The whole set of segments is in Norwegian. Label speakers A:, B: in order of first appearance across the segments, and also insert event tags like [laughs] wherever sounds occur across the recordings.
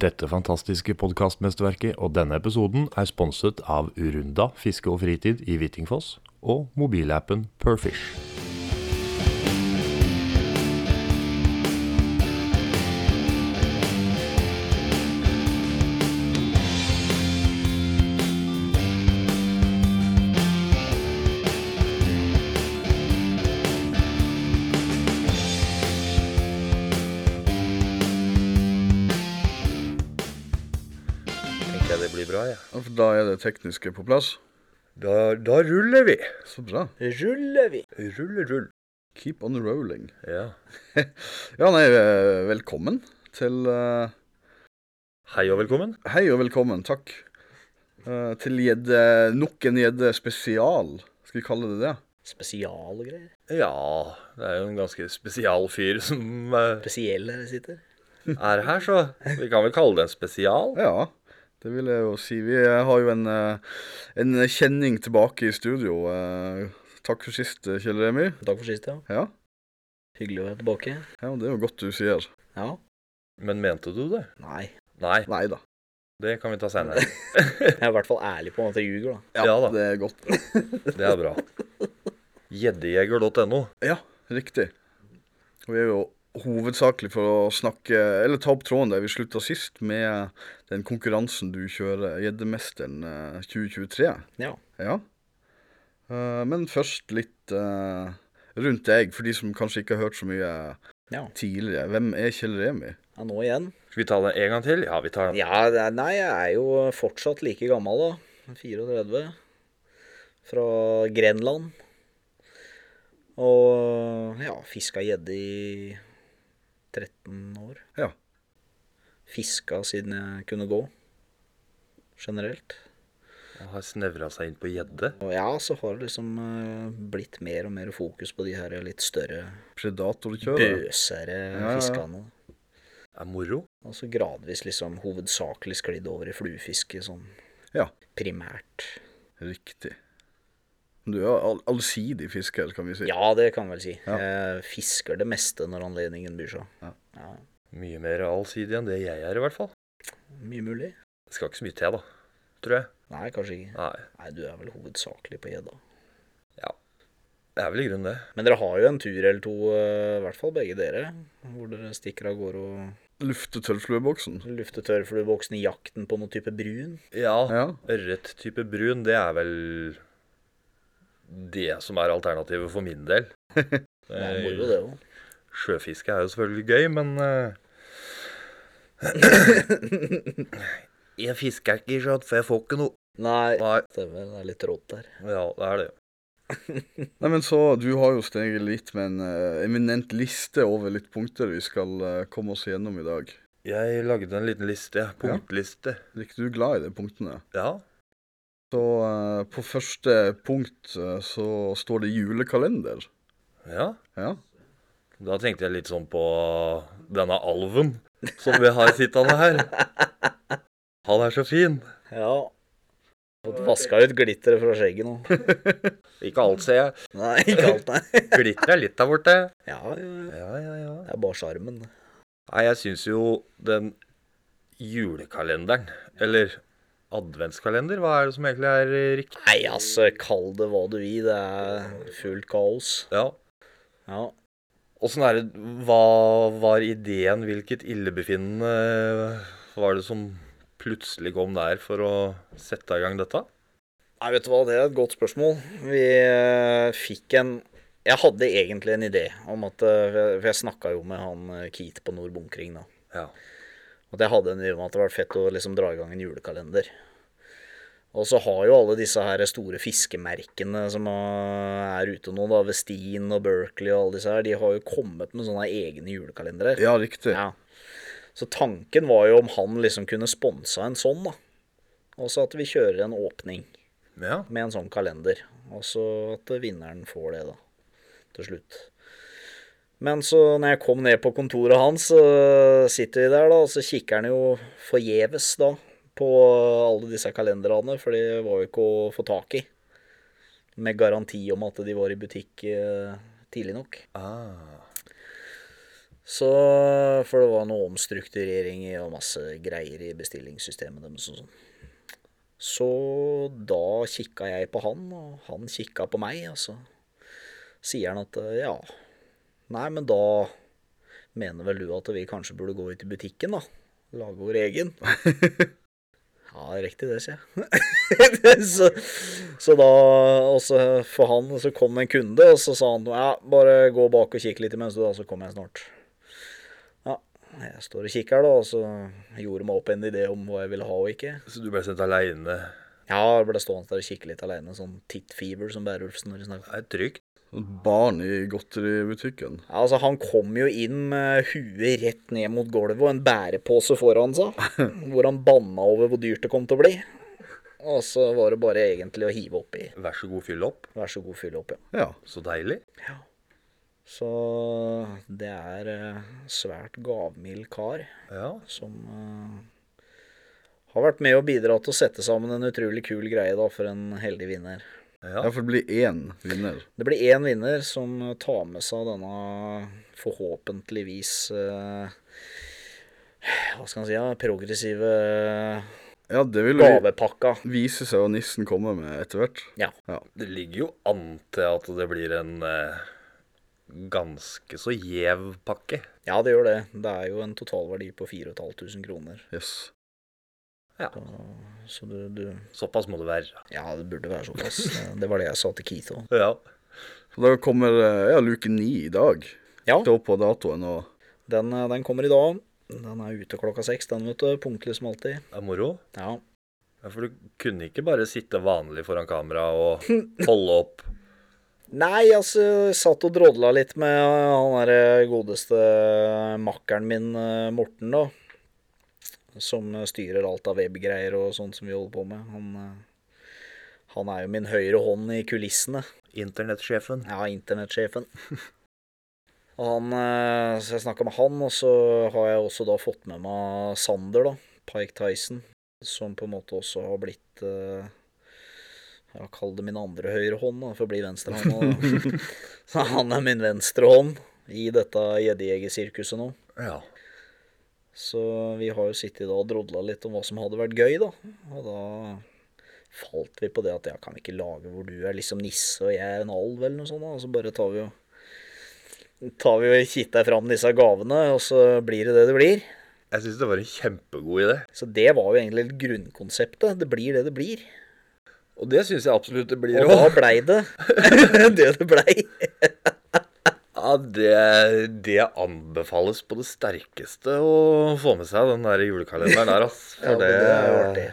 A: Dette fantastiske podkastmesterverket og denne episoden er sponset av Urunda fiske og fritid i Hvittingfoss og mobilappen Perfish.
B: Tenker jeg det blir bra, jeg. Ja.
C: Ja, For da er det tekniske på plass.
B: Da, da ruller vi.
C: Så bra.
B: Ruller vi. Rulle, rull.
C: Keep on rolling.
B: Ja.
C: Ja, nei, eh, velkommen til eh,
B: Hei og velkommen.
C: Hei og velkommen, takk. Eh, til gjedde Nok en gjedde spesial. Skal vi kalle det det?
D: spesiale greier.
B: Ja, det er jo en ganske spesial fyr som eh,
D: Spesielle sitter.
B: er her, så vi kan vel kalle det en spesial.
C: Ja, det vil jeg jo si. Vi har jo en, eh, en kjenning tilbake i studio. eh, takk for sist, eh, Kjell Remi.
D: Takk for sist, ja.
C: Ja,
D: Hyggelig å være tilbake.
C: ja, det er jo godt du sier.
D: Ja.
B: Men mente du det?
D: Nei. [laughs]
B: Nei,
C: Nei da.
B: det kan vi ta senere.
D: Jeg er i hvert fall ærlig på at jeg ljuger, da.
B: Ja da.
C: Det er godt.
B: Det er bra. Gjeddejeger.no.
C: Ja, riktig. Og vi er jo hovedsakelig for å snakke, eller ta opp tråden der vi slutta sist, med den konkurransen du kjører, Gjeddemesteren eh, 2023.
D: Ja.
C: Ja. Eh, Men først litt eh, rundt deg, for de som kanskje ikke har hørt så mye
D: Ja.
C: tidligere. Hvem er Kjell Remi?
D: ja nå igjen.
B: Skal vi ta den en gang til? Ja, vi tar den.
D: Ja, det er- nei, jeg er jo fortsatt like gammel, da. 34. Fra Grenland. Og ja, fiska gjedde i 13 år.
C: Ja.
D: Fiska siden jeg kunne gå. Generelt.
B: Han har snevra seg inn på gjedde.
D: Og ja, så har det liksom eh, blitt mer og mer fokus på de her litt større,
C: Predatorkjører?
D: bøsere
C: ja, ja.
D: fiskene.
B: Er moro.
D: Og så gradvis liksom hovedsakelig sklidd over i fluefiske sånn
C: Ja,
D: primært.
C: riktig. Du er all allsidig fisker, kan vi si.
D: Ja, det kan jeg vel si.
C: Ja.
D: Jeg fisker det meste når anledningen byr seg.
C: Ja.
B: Mye mer allsidig enn det jeg er, i hvert fall.
D: Mye mulig.
B: Det skal ikke så mye til, da. Tror jeg.
D: Nei, kanskje ikke.
B: Nei.
D: Nei, du er vel hovedsakelig på gjedda.
B: Det er vel i grunnen det.
D: Men dere har jo en tur eller to, eh, i hvert fall begge dere, hvor dere stikker av gårde og
C: Lufte tørrflueboksen?
D: lufter tørrflueboksen i jakten på noe type brun.
B: Ja.
C: Ja.
B: Ørrettype brun, det er vel det som er alternativet for min del.
C: [laughs]
B: Eh,
D: Det er moro, det òg.
B: Sjøfiske er jo selvfølgelig gøy, men eh, [clears throat] Jeg fisker ikke, skjønt, for jeg får ikke noe.
D: [coughs] Nei,
B: Nei,
D: stemmer. Det er litt rått der. [laughs]
B: ja, det er det.
C: Nei, men så, Du har jo steget litt med en eh, eminent liste over litt punkter vi skal eh, komme oss gjennom i dag.
B: Jeg lagde en liten liste. Punktliste.
C: Er ikke du glad i de punktene?
B: Ja.
C: Så eh, på første punkt eh, så står det julekalender.
B: ja.
C: Ja.
B: Da tenkte jeg litt sånn på denne alven som vi har sittende
D: [laughs]
B: her. Han er så fin.
D: Ja. Fått vaska ut glitteret fra skjegget nå. [laughs]
B: Ikke alt, ser jeg.
D: Nei, ikke alt, nei.
B: Glitter er litt der borte.
D: Ja, ja, ja.
B: Ja, ja, ja.
D: Det er bare sjarmen. det.
B: Nei, jeg syns jo den julekalenderen, eller adventskalender, hva er det som egentlig er eh, riktig?
D: Nei, altså, kall det hva du vil. Det er fullt kaos.
B: Ja.
D: Ja.
B: Åssen er det Hva var ideen? Hvilket illebefinnende var det som plutselig kom der for å sette i gang dette?
D: Nei, vet du hva, det er et godt spørsmål. Vi eh, fikk en Jeg hadde egentlig en idé om at eh, For jeg snakka jo med han eh, Keith på Nord Bunkring, da.
B: Ja.
D: At jeg hadde en idé om at det var fett å liksom dra i gang en julekalender. Og så har jo alle disse her store fiskemerkene som eh, er ute nå, da, Westin og Berkeley og alle disse her, de har jo kommet med sånne egne julekalendere.
C: ja, riktig.
D: Ja. Så tanken var jo om han liksom kunne sponsa en sånn, da. Og så at vi kjører en åpning
B: ja.
D: med en sånn kalender. Og så at vinneren får det, da. Til slutt. Men så når jeg kom ned på kontoret hans, så sitter vi der, da, og så kikker han jo forgjeves, da, på alle disse kalenderne, for de var jo ikke å få tak i. Med garanti om at de var i butikk eh, tidlig nok.
B: Ah.
D: Så, for det var noe omstrukturering i- og masse greier i bestillingssystemet deres og sånn. Så da kikka jeg på han, og han kikka på meg, og så sier han at eh, ja, nei, men da mener vel du at vi kanskje burde gå ut i butikken, da? Lage vår egen? Ja, det er riktig det, sier jeg. [laughs] så, så da, også for han, så kom en kunde, og så sa han ja, bare gå bak og kikke litt imens, du, da, så kommer jeg snart. Ja, jeg står og kikker, da, og så gjorde meg opp en idé om hva jeg ville ha og ikke.
B: Så du ble sendt aleine.
D: Ja, jeg ble stående der og kikke litt aleine, sånn tittfever som Bærulfsen når de snakker.
B: Det er trygt.
C: Barn i godteributikken.
D: Ja, altså, han kom jo inn med huet rett ned mot gulvet og en bærepose foran seg, hvor han banna over hvor dyrt det kom til å bli. Og så var det bare egentlig å hive oppi.
B: Vær så god, fyll opp.
D: Vær så god, fyll opp, ja.
C: Ja.
B: Så deilig.
D: Så det er eh, svært gavmild kar
B: Ja.
D: som eh, har vært med og bidratt til å sette sammen en utrolig kul greie da, for en heldig vinner.
B: ja.
C: Ja, for det blir én vinner.
D: Det blir én vinner som tar med seg denne forhåpentligvis eh, Hva skal man si, ja, progressive
C: Ja, det vil jo
D: gavepakka.
C: vise seg hva nissen kommer med etter hvert.
D: Ja.
B: Det ligger jo an til at det blir en eh, ganske så gjev pakke.
D: ja, det gjør det. Det er jo en totalverdi på 4500 kroner.
C: Yes.
D: Så du, du
B: Såpass må det være.
D: Ja, det burde være såpass. Det var det jeg sa til Keith òg.
B: Ja.
C: Så da kommer eh, ja, luke ni i dag.
D: Ja.
C: Står på datoen og
D: Den, eh, den kommer i dag. Den er ute klokka seks, den, vet du. Punktlig som alltid.
B: Det er moro.
D: Ja.
B: Ja, For du kunne ikke bare sitte vanlig foran kamera [laughs] og holde opp.
D: Nei, altså, jeg satt og drodla litt med eh, han der eh, godeste makkeren min, eh, Morten, da. Som eh, styrer alt av webgreier og sånt som vi holder på med. Han, eh, han er jo min høyre hånd i kulissene.
B: Internettsjefen.
D: Ja, internettsjefen. [laughs] Og han, eh, så jeg snakka med han, og så har jeg også da fått med meg Sander, da. Pike Tyson. Som på en måte også har blitt eh, Ja, kall det min andre høyre hånd, da, for å bli venstrehånda. da. [laughs] så han er min venstre hånd i dette gjeddejegersirkuset nå.
B: Ja.
D: Så vi har jo sittet da og drodla litt om hva som hadde vært gøy, da. Og da falt vi på det at ja, kan vi ikke lage hvor du er liksom nisse og jeg er en alv, eller noe sånt, da. Og så bare tar vi jo Tar vi og kitter fram disse gavene, og så blir det det det blir.
B: Jeg syns det var en kjempegod idé.
D: Så det var jo egentlig litt grunnkonseptet. Det blir det det blir.
B: Og det syns jeg absolutt det blir
D: Og da
B: òg.
D: blei det [laughs] det det blei.
B: Ja, det, det anbefales på det sterkeste å få med seg den der julekalenderen der, [laughs] ass. For
D: Ja, det er jo artig.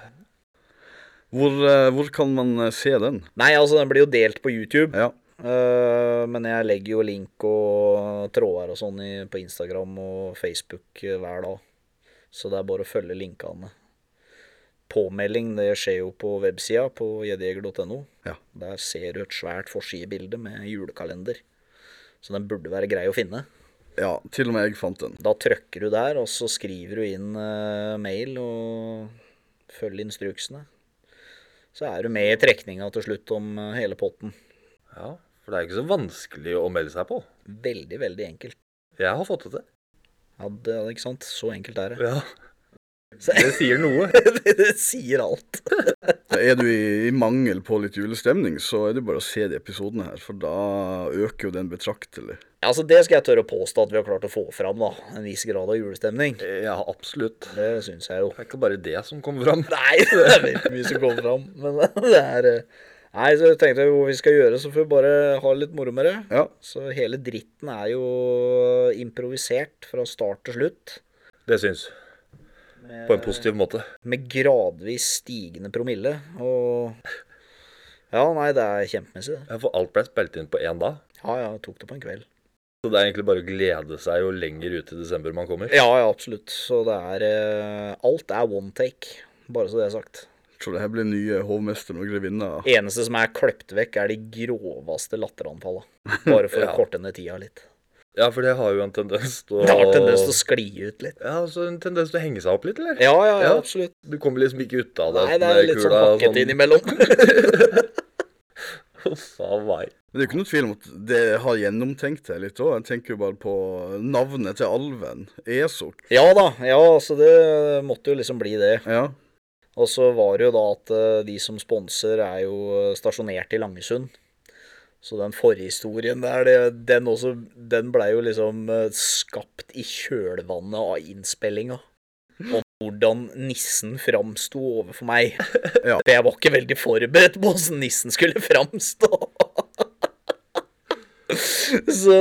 C: hvor, eh, hvor kan man eh, se den?
D: Nei, altså, den blir jo delt på YouTube.
C: Ja.
D: Eh, men jeg legger jo link og tråder og sånn i, på Instagram og Facebook eh, hver dag. Så det er bare å følge linkene. Påmelding det skjer jo på websida på gjeddejeger.no.
C: Ja.
D: Der ser du et svært forsidebilde med julekalender. Så den burde være grei å finne.
C: ja. Til og med jeg fant den.
D: Da trykker du der, og så skriver du inn eh, mail og følger instruksene. Så er du med i trekninga til slutt om eh, hele potten.
B: Ja, for det er ikke så vanskelig å melde seg på.
D: Veldig, veldig enkelt.
B: Jeg har fått det til.
D: Ja, det, ja, ikke sant? Så enkelt er det. [laughs]
B: [laughs] Ja.
D: Så-
B: Det sier noe.
D: det, det sier alt.
C: Da er du i, i mangel på litt julestemning, så er det bare å se de episodene her, for da øker jo den betraktelig.
D: Ja, altså Det skal jeg tørre å påstå at vi har klart å få fram. da, En viss grad av julestemning.
B: Ja, absolutt.
D: Det syns jeg jo. [laughs]
B: Det er ikke bare det som kommer fram.
D: Nei, det er veldig mye som kommer fram. Men [laughs] det er eh, Nei, så tenkte jeg hva vi skal gjøre, så får vi bare ha det litt moro med det.
C: Ja.
D: Så hele dritten er jo improvisert fra start til slutt.
B: Det syns. På en positiv måte.
D: Med gradvis stigende promille. Og [laughs] Ja, nei, det er kjempemessig, det.
B: Ja, For alt ble spilt inn på én dag.
D: Ja, ja, tok det på en kveld.
B: Så det er egentlig bare å glede seg jo lenger ut i desember man kommer.
D: Ja, ja, absolutt. Så det er eh, Alt er one take, bare så det er sagt.
C: Jeg tror det her blir nye hovmesteren og grevinna.
D: Eneste som er kløpt vekk, er de groveste latteranfalla. Bare for [laughs]
B: Ja.
D: å korte ned tida litt.
B: Ja, for det har jo en tendens til å
D: Det har tendens til å skli ut litt.
B: Ja, så en tendens til å henge seg opp litt, eller?
D: Ja, ja, ja,
B: Ja.
D: absolutt.
B: Du kommer liksom ikke ut av det.
D: Nei, det
B: med
D: er litt sånn
B: kula og
D: hakkete
B: sånn.
D: innimellom.
B: [laughs] Sa meg.
C: Men det er jo ikke noe tvil om at det har gjennomtenkt det litt òg. Jeg tenker jo bare på navnet til alven, Esok.
D: [laughs] Ja da, ja, altså det måtte jo liksom bli det.
C: Ja.
D: Og så var det jo da at eh, de som sponser er jo eh, stasjonert i Langesund. Så den forhistorien der, det, den, også, den ble jo liksom eh, skapt i kjølvannet av innspillinga. Og hvordan nissen framsto overfor meg.
C: Ja.
D: For jeg var ikke veldig forberedt på hvordan nissen skulle framstå. [laughs] Så,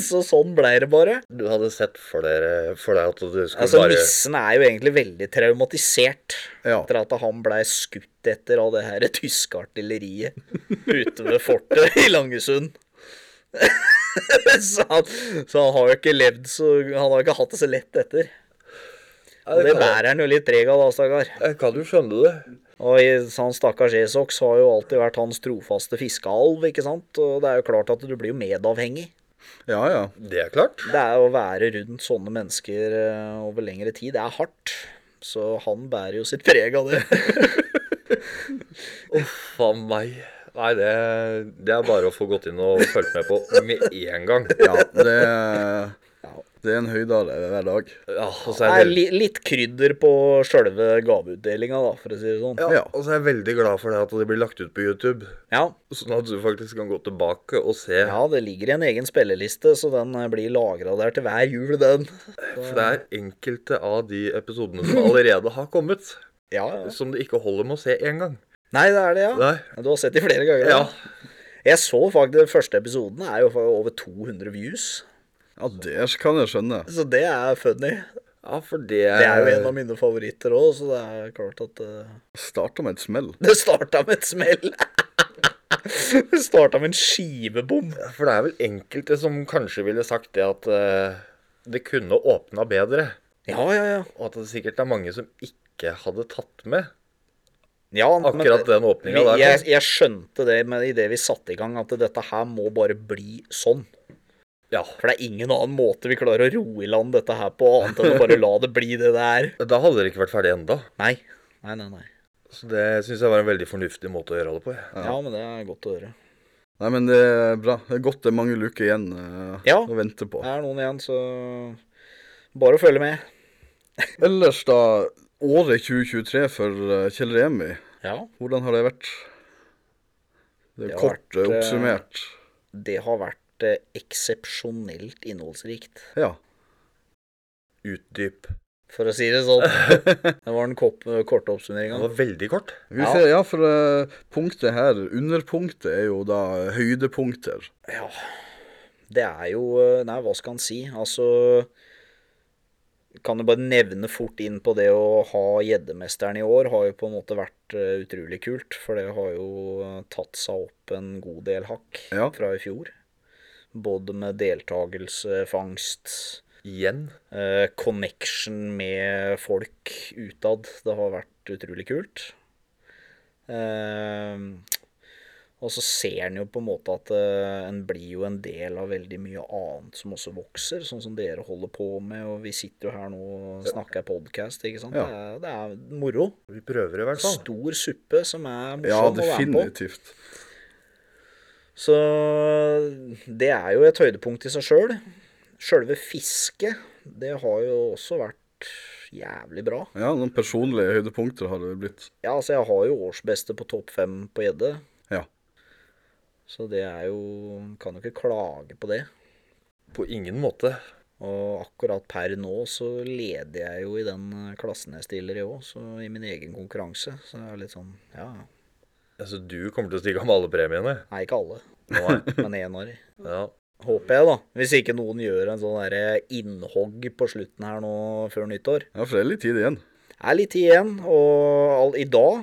D: så sånn blei det bare.
B: Du hadde sett for, dere, for deg at du skulle
D: Altså,
B: bare
D: nissen er jo egentlig veldig traumatisert
C: ja.
D: etter at han blei skutt etter av det her [laughs] tyske artilleriet ute ved fortet i Langesund. [laughs] så, han, så han har jo ikke levd så Han har jo ikke hatt det så lett etter.
B: Ja,
D: Og det
B: kan-
D: bærer han jo litt preg av, da, stakkar.
B: Jeg kan jo skjønne det.
D: Og i- så han stakkars Esox har jo alltid vært hans trofaste fiskealv, ikke sant. Og det er jo klart at du blir jo medavhengig.
C: ja, ja.
B: Det er klart.
D: Det er å være rundt sånne mennesker eh, over lengre tid, det er hardt. Så han bærer jo sitt preg
B: [laughs]
D: av det.
B: Faen meg. Nei, det, det er bare å få gått inn og fulgt med på med en
D: [laughs]
B: gang.
C: ja det, det er en høydare hver dag.
B: Ja, og så
D: Det
B: er
D: er
B: jeg,
D: li litt krydder på sjølve gaveutdelinga, da, for å si det sånn.
B: veld...
C: Ja.
B: ja, og så er jeg veldig glad for det at det blir lagt ut på YouTube.
D: Ja.
B: Sånn at du faktisk kan gå tilbake og se.
D: ja, det ligger en egen spilleliste, så den eh, blir lagra der til hver jul, den.
B: For det er enkelte av de episodene som allerede har kommet,
D: Ja, ja.
B: som det ikke holder med å se én gang.
D: Nei, det er det, ja.
B: Nei.
D: Du har sett de flere ganger.
B: Ja.
D: da. Jeg så faktisk den første episoden. er jo for over 200 views.
C: Ja, det kan jeg skjønne.
D: Så det er funny.
B: ja, for det
D: Det er jo en av mine favoritter òg, så det er klart at eh,
C: Starta med et smell.
D: Det starta med et smell. [laughs] det starta med en skivebom.
B: For det er vel enkelte som kanskje ville sagt det at eh, det kunne åpna bedre.
D: Ja, ja, ja.
B: Og at det sikkert er mange som ikke hadde tatt med
D: ja men-
B: akkurat den åpninga
D: Vi-
B: der.
D: jeg, jeg skjønte det med idet vi satte i gang, at dette her må bare bli sånn.
B: Ja.
D: For det er ingen annen måte vi klarer å ro i land dette her på, annet enn å bare la det bli det det er.
B: Da hadde dere ikke vært ferdig enda.
D: Nei. Nei, nei, nei.
B: Så det syns jeg var en veldig fornuftig måte å gjøre det på. jeg.
D: Ja, men det er godt å høre.
C: Nei, men det er bra. Det er godt det er mange luker igjen eh,
D: Ja.
C: å vente på.
D: Er det noen igjen, så bare å følge med.
C: Ellers, da. Året 2023 for eh, Kjell Remi.
D: Ja.
C: Hvordan har det vært? Det
D: Det
C: er
D: har
C: kort
D: vært,
C: eh,
D: eh,
C: oppsummert.
D: Det har vært eh, eksepsjonelt innholdsrikt,
C: Ja.
B: Utdyp.
D: for å si det [laughs] sånn. Det var den kop- korte
B: Det
D: oppsummeringa.
B: var veldig kort.
C: Vi
D: Ja.
C: ser, ja, for eh, punktet her, underpunktet, er jo da høydepunkter.
D: Ja. Det er jo eh, Nei, hva skal en si? Altså Kan jo bare nevne fort inn på det å ha Gjeddemesteren i år. Har jo på en måte vært eh, utrolig kult. For det har jo eh, tatt seg opp en god del hakk
C: Ja.
D: fra i fjor. Både med deltakelse, fangst,
B: Igjen.
D: eh, connection med folk utad. Det har vært utrolig kult. Eh, og så ser en jo på en måte at eh, en blir jo en del av veldig mye annet som også vokser, sånn som dere holder på med, og vi sitter jo her nå og snakker podkast, ikke sant.
C: Ja.
D: Det, er, det er moro.
B: Vi prøver i hvert fall.
D: Stor suppe som er morsom
C: Ja,
D: å være med på.
C: definitivt.
D: Så det er jo et høydepunkt i seg sjøl. Sjølve fisket, det har jo også vært jævlig bra.
C: Ja, noen personlige høydepunkter har det vel blitt.
D: Ja, altså jeg har jo årsbeste på topp fem på gjedde.
C: Ja.
D: Så det er jo Kan jo ikke klage på det.
B: På ingen måte.
D: Og akkurat per nå så leder jeg jo i den eh, klassen jeg stiller i òg, så i min egen konkurranse. Så det er litt sånn Ja, ja.
B: Altså, du kommer til å stikke av med alle premiene.
D: nei, ikke alle,
B: Nei.
D: men én år.
B: Ja.
D: Håper jeg, da. Hvis ikke noen gjør en sånn derre innhogg på slutten her nå før nyttår.
C: Ja, for det er litt tid igjen.
D: er litt tid igjen, og all, i dag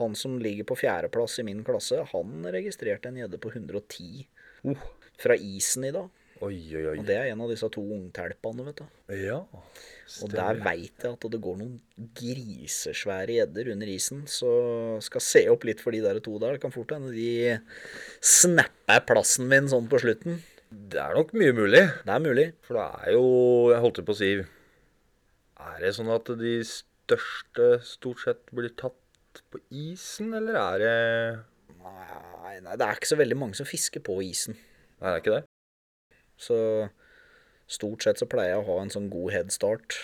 D: Han som ligger på fjerdeplass i min klasse, han registrerte en gjedde på 110
C: Oh,
D: fra isen i dag.
B: Oi, oi,
D: Og
B: oi.
D: det er en av disse to ungtelpene, vet du.
B: Ja.
D: Og der
B: Stemmer.
D: veit jeg at det går noen grisesvære gjedder under isen, så skal se opp litt for de der to der. Det kan fort hende de snapper plassen min sånn på slutten.
B: Det er nok mye mulig.
D: Det er mulig.
B: For det er jo Jeg holdt på å si Er det sånn at de største stort sett blir tatt på isen, eller er det
D: Nei, nei, det er ikke så veldig mange som fisker på isen.
B: Nei, det er ikke det.
D: Så stort sett så pleier jeg å ha en sånn god headstart.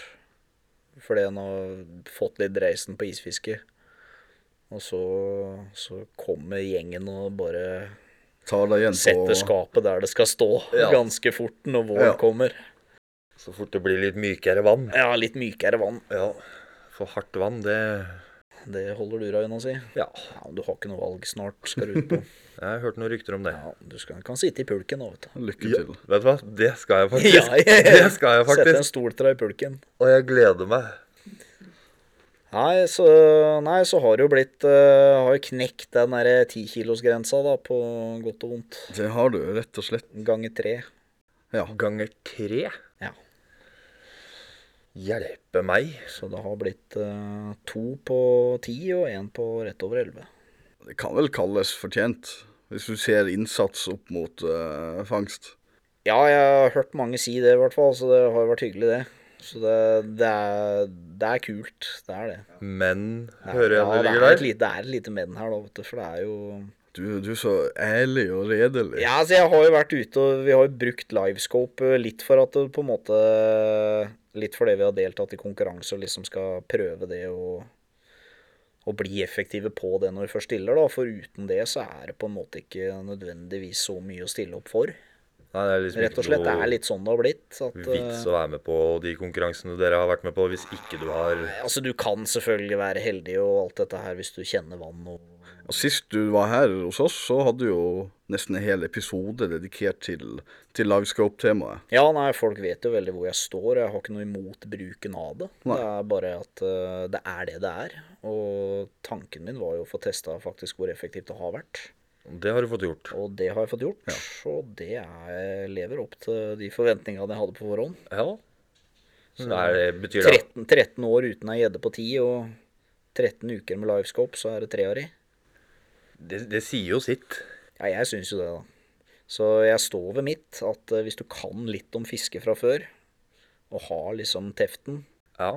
D: Fordi en har fått litt dreisen på isfiske. Og så, så kommer gjengen og bare
C: Tar deg igjen
D: setter
C: på
D: skapet der det skal stå,
B: Ja.
D: ganske fort når våren
C: Ja.
D: kommer.
B: Så fort det blir litt mykere vann.
D: Ja, litt mykere vann.
B: Ja. For hardt vann, det
D: Det holder dura unna, si.
B: Ja.
D: Ja, men du har ikke noe valg snart, skal du ut
B: [laughs]
D: på.
B: Jeg har hørt noen rykter om det.
D: Ja, du skal, kan sitte i pulken nå, vet du.
C: Lykke
B: Ja,
C: til.
B: vet du hva? Det skal jeg faktisk.
D: [laughs] Ja, ja, ja.
B: [laughs] Det skal jeg
D: Sette en
B: faktisk.
D: stol til deg i pulken.
B: Og jeg gleder meg.
D: Nei, så, nei, så har det jo blitt eh, Har jo knekt den derre tikilosgrensa, da, på godt og vondt.
C: Det har du, rett og slett.
D: Ganger tre.
C: Ja.
B: Ganger tre.
D: Ja.
B: Hjelpe meg.
D: Så det har blitt eh, to på ti og én på rett over elleve.
C: Det kan vel kalles fortjent, hvis du ser innsats opp mot eh, fangst.
D: Ja, jeg har hørt mange si det, i hvert fall, så det har jo vært hyggelig, det. Så det, det, er, det er kult. Det er det.
B: Men hører jeg
D: ja,
B: det
D: det,
B: ligger
D: er et
B: der?
D: lite, det er et lite menn her, da, vet du, for det er jo
C: Du, du er så ærlig og redelig.
D: Ja, altså jeg har jo vært ute og vi har jo brukt livescope eh, litt for at det på en måte Litt fordi vi har deltatt i konkurranse og liksom skal prøve det og, og bli effektive på det når vi først stiller, da. For uten det så er det på en måte ikke nødvendigvis så mye å stille opp for.
B: Nei, det er liksom
D: Rett og slett. Det
B: ikke
D: er
B: noe
D: litt sånn det har blitt. At, eh,
B: vits å være med på de konkurransene dere har vært med på, hvis ikke du har
D: altså du kan selvfølgelig være heldig og alt dette her hvis du kjenner vann og
C: Og Sist du var her hos oss, så hadde du jo nesten en hel episode dedikert til, til livescope-temaet.
D: Ja, nei, folk vet jo veldig hvor jeg står, og jeg har ikke noe imot bruken av det.
C: Nei.
D: Det er bare at eh, det er det det er. Og tanken min var jo å få testa faktisk hvor effektivt det har vært.
B: Det har du fått gjort.
D: Og det har jeg fått gjort, og det er, lever opp til de forventningene jeg hadde på forhånd.
B: Ja. Så det er, det- betyr det
D: 13, 13 år uten ei gjedde på 10, og 13 uker med livescope, så er det tre år i.
B: Det, det sier jo sitt.
D: Ja, jeg syns jo det, da. Så jeg står ved mitt at eh, hvis du kan litt om fiske fra før, og har liksom teften,
B: Ja.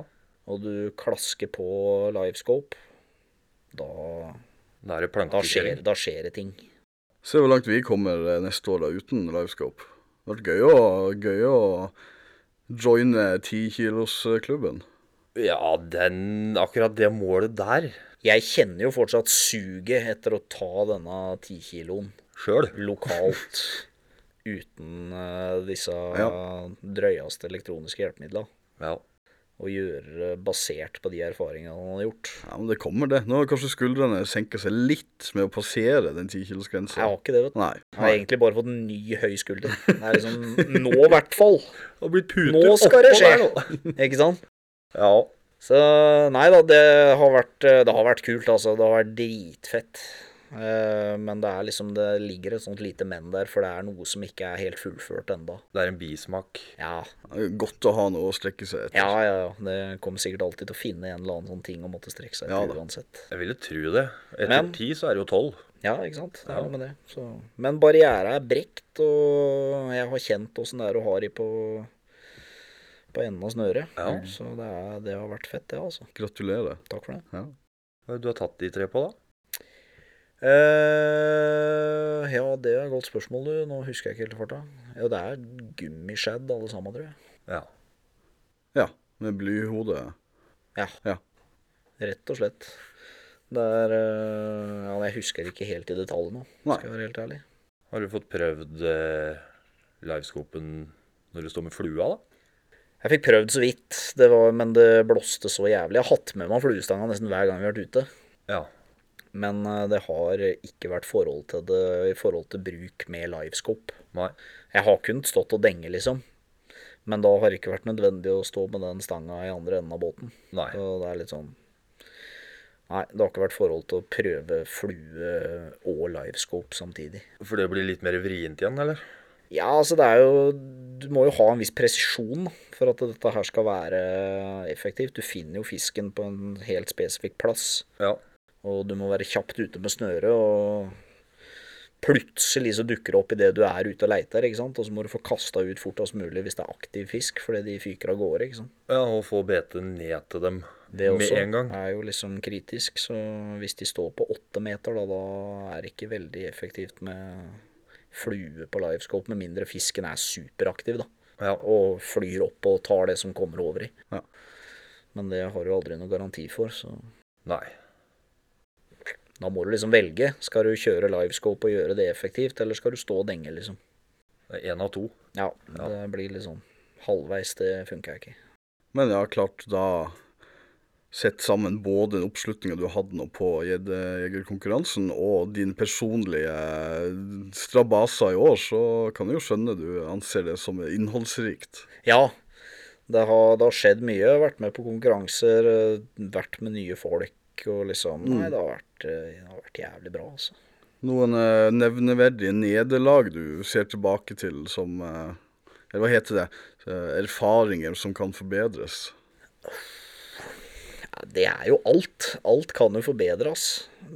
D: og du klasker på livescope, da,
B: Da er det
D: da, skjer,
B: plankekjøring.
D: da skjer det ting.
C: Se hvor langt vi kommer eh, neste år da uten livescope. Det hadde vært gøy å, gøy å joine tikilosklubben.
B: Ja, den Akkurat det målet der
D: Jeg kjenner jo fortsatt suget etter å ta denne tikiloen
B: sjøl. [laughs]
D: lokalt uten eh, disse drøyeste elektroniske hjelpemidla.
B: Ja.
D: Og gjøre det basert på de erfaringene han har gjort.
C: Ja, men det kommer, det. Nå har kanskje skuldrene senka seg litt med å passere den
D: Jeg
C: tikilosgrensa.
D: har ikke det, vet du.
C: Nei.
D: Jeg har egentlig bare fått en ny høy skulder. Det er liksom Nå, i hvert fall.
B: Og blir puter
D: Nå skal det
B: oppå
D: skje!
B: der, da.
D: Ikke sant?
B: Ja.
D: Så nei da, det har vært, det har vært kult, altså. Det har vært dritfett. Eh, Men det er liksom, det ligger et sånt lite men der, for det er noe som ikke er helt fullført enda.
B: Det er en bismak.
D: Ja,
C: Godt å ha noe å strekke seg etter.
D: ja, ja. ja. Det kommer sikkert alltid til å finne en eller annen sånn ting å måtte strekke seg
C: Ja da.
D: etter uansett.
B: Jeg ville tro det. Etter
D: Men-
B: ti så er det jo tolv.
D: Ja, ikke sant? Det er noe med det. Så. Men barriera er brekt, og jeg har kjent åssen det er å ha de på, på enden av snøret.
B: Ja.
D: Så det, er, det har vært fett, det, altså.
C: Gratulerer.
D: Takk for det.
C: Ja.
B: Hva er det Du har tatt de tre på, da?
D: eh ja, det er et godt spørsmål, du. Nå husker jeg ikke helt i farta. Ja, det er gummiskjedd alle sammen, tror jeg.
B: Ja.
C: ja. Med blyhode.
D: Rett og slett. Det er eh, Ja, jeg husker ikke helt i detalj nå,
C: Nei.
D: skal jeg være helt ærlig.
B: Har du fått prøvd eh, livescopen når du står med flua, da?
D: Jeg fikk prøvd så vidt, det var, men det blåste så jævlig. Jeg har hatt med meg fluestanga nesten hver gang vi har vært ute.
B: Ja.
D: Men eh, det har ikke vært forhold til det i forhold til bruk med livescope.
B: Nei.
D: Jeg har kunnet stått og denge, liksom. Men da har det ikke vært nødvendig å stå med den stanga i andre enden av båten.
B: Nei.
D: Så det er litt sånn Nei, det har ikke vært forhold til å prøve flue og livescope samtidig.
B: For det blir litt mer vrient igjen, eller?
D: Ja, altså det er jo Du må jo ha en viss presisjon da, for at dette her skal være effektivt. Du finner jo fisken på en helt spesifikk plass,
B: Ja.
D: og du må være kjapt ute med snøret, og plutselig så dukker det opp idet du er ute og leiter, ikke sant? og så må du få kasta ut fortest mulig hvis det er aktiv fisk, fordi de fyker av gårde. ikke sant?
B: ja og få betet ned til dem
D: Det
B: Med
D: også
B: en gang.
D: er jo liksom kritisk, så hvis de står på åtte meter, da, da er det ikke veldig effektivt med flue på livescope, med mindre fisken er superaktiv, da.
B: Ja.
D: Og flyr opp og tar det som kommer over i.
C: Ja.
D: Men det har du aldri noe garanti for, så
B: Nei.
D: da må du liksom velge. Skal du kjøre livescope og gjøre det effektivt, eller skal du stå og denge, liksom?
B: Det er én av to.
D: Ja,
B: Ja.
D: det blir litt sånn halvveis, det funker ikke.
C: Men ja, klart da Sett sammen både den oppslutninga du hadde nå på gjeddejegerkonkurransen, og din personlige strabaser i år, så kan jeg jo skjønne du anser det som innholdsrikt.
D: Ja, det har, det har skjedd mye. Jeg har vært med på konkurranser, eh, vært med nye folk og liksom
B: Mm.
D: Nei, det har vært, eh, det har vært jævlig bra, altså.
C: Noen eh, nevneverdige nederlag du ser tilbake til som eh, Eller hva heter det? Eh, Erfaringer som kan forbedres.
D: Ja, det er jo alt. Alt kan jo forbedres.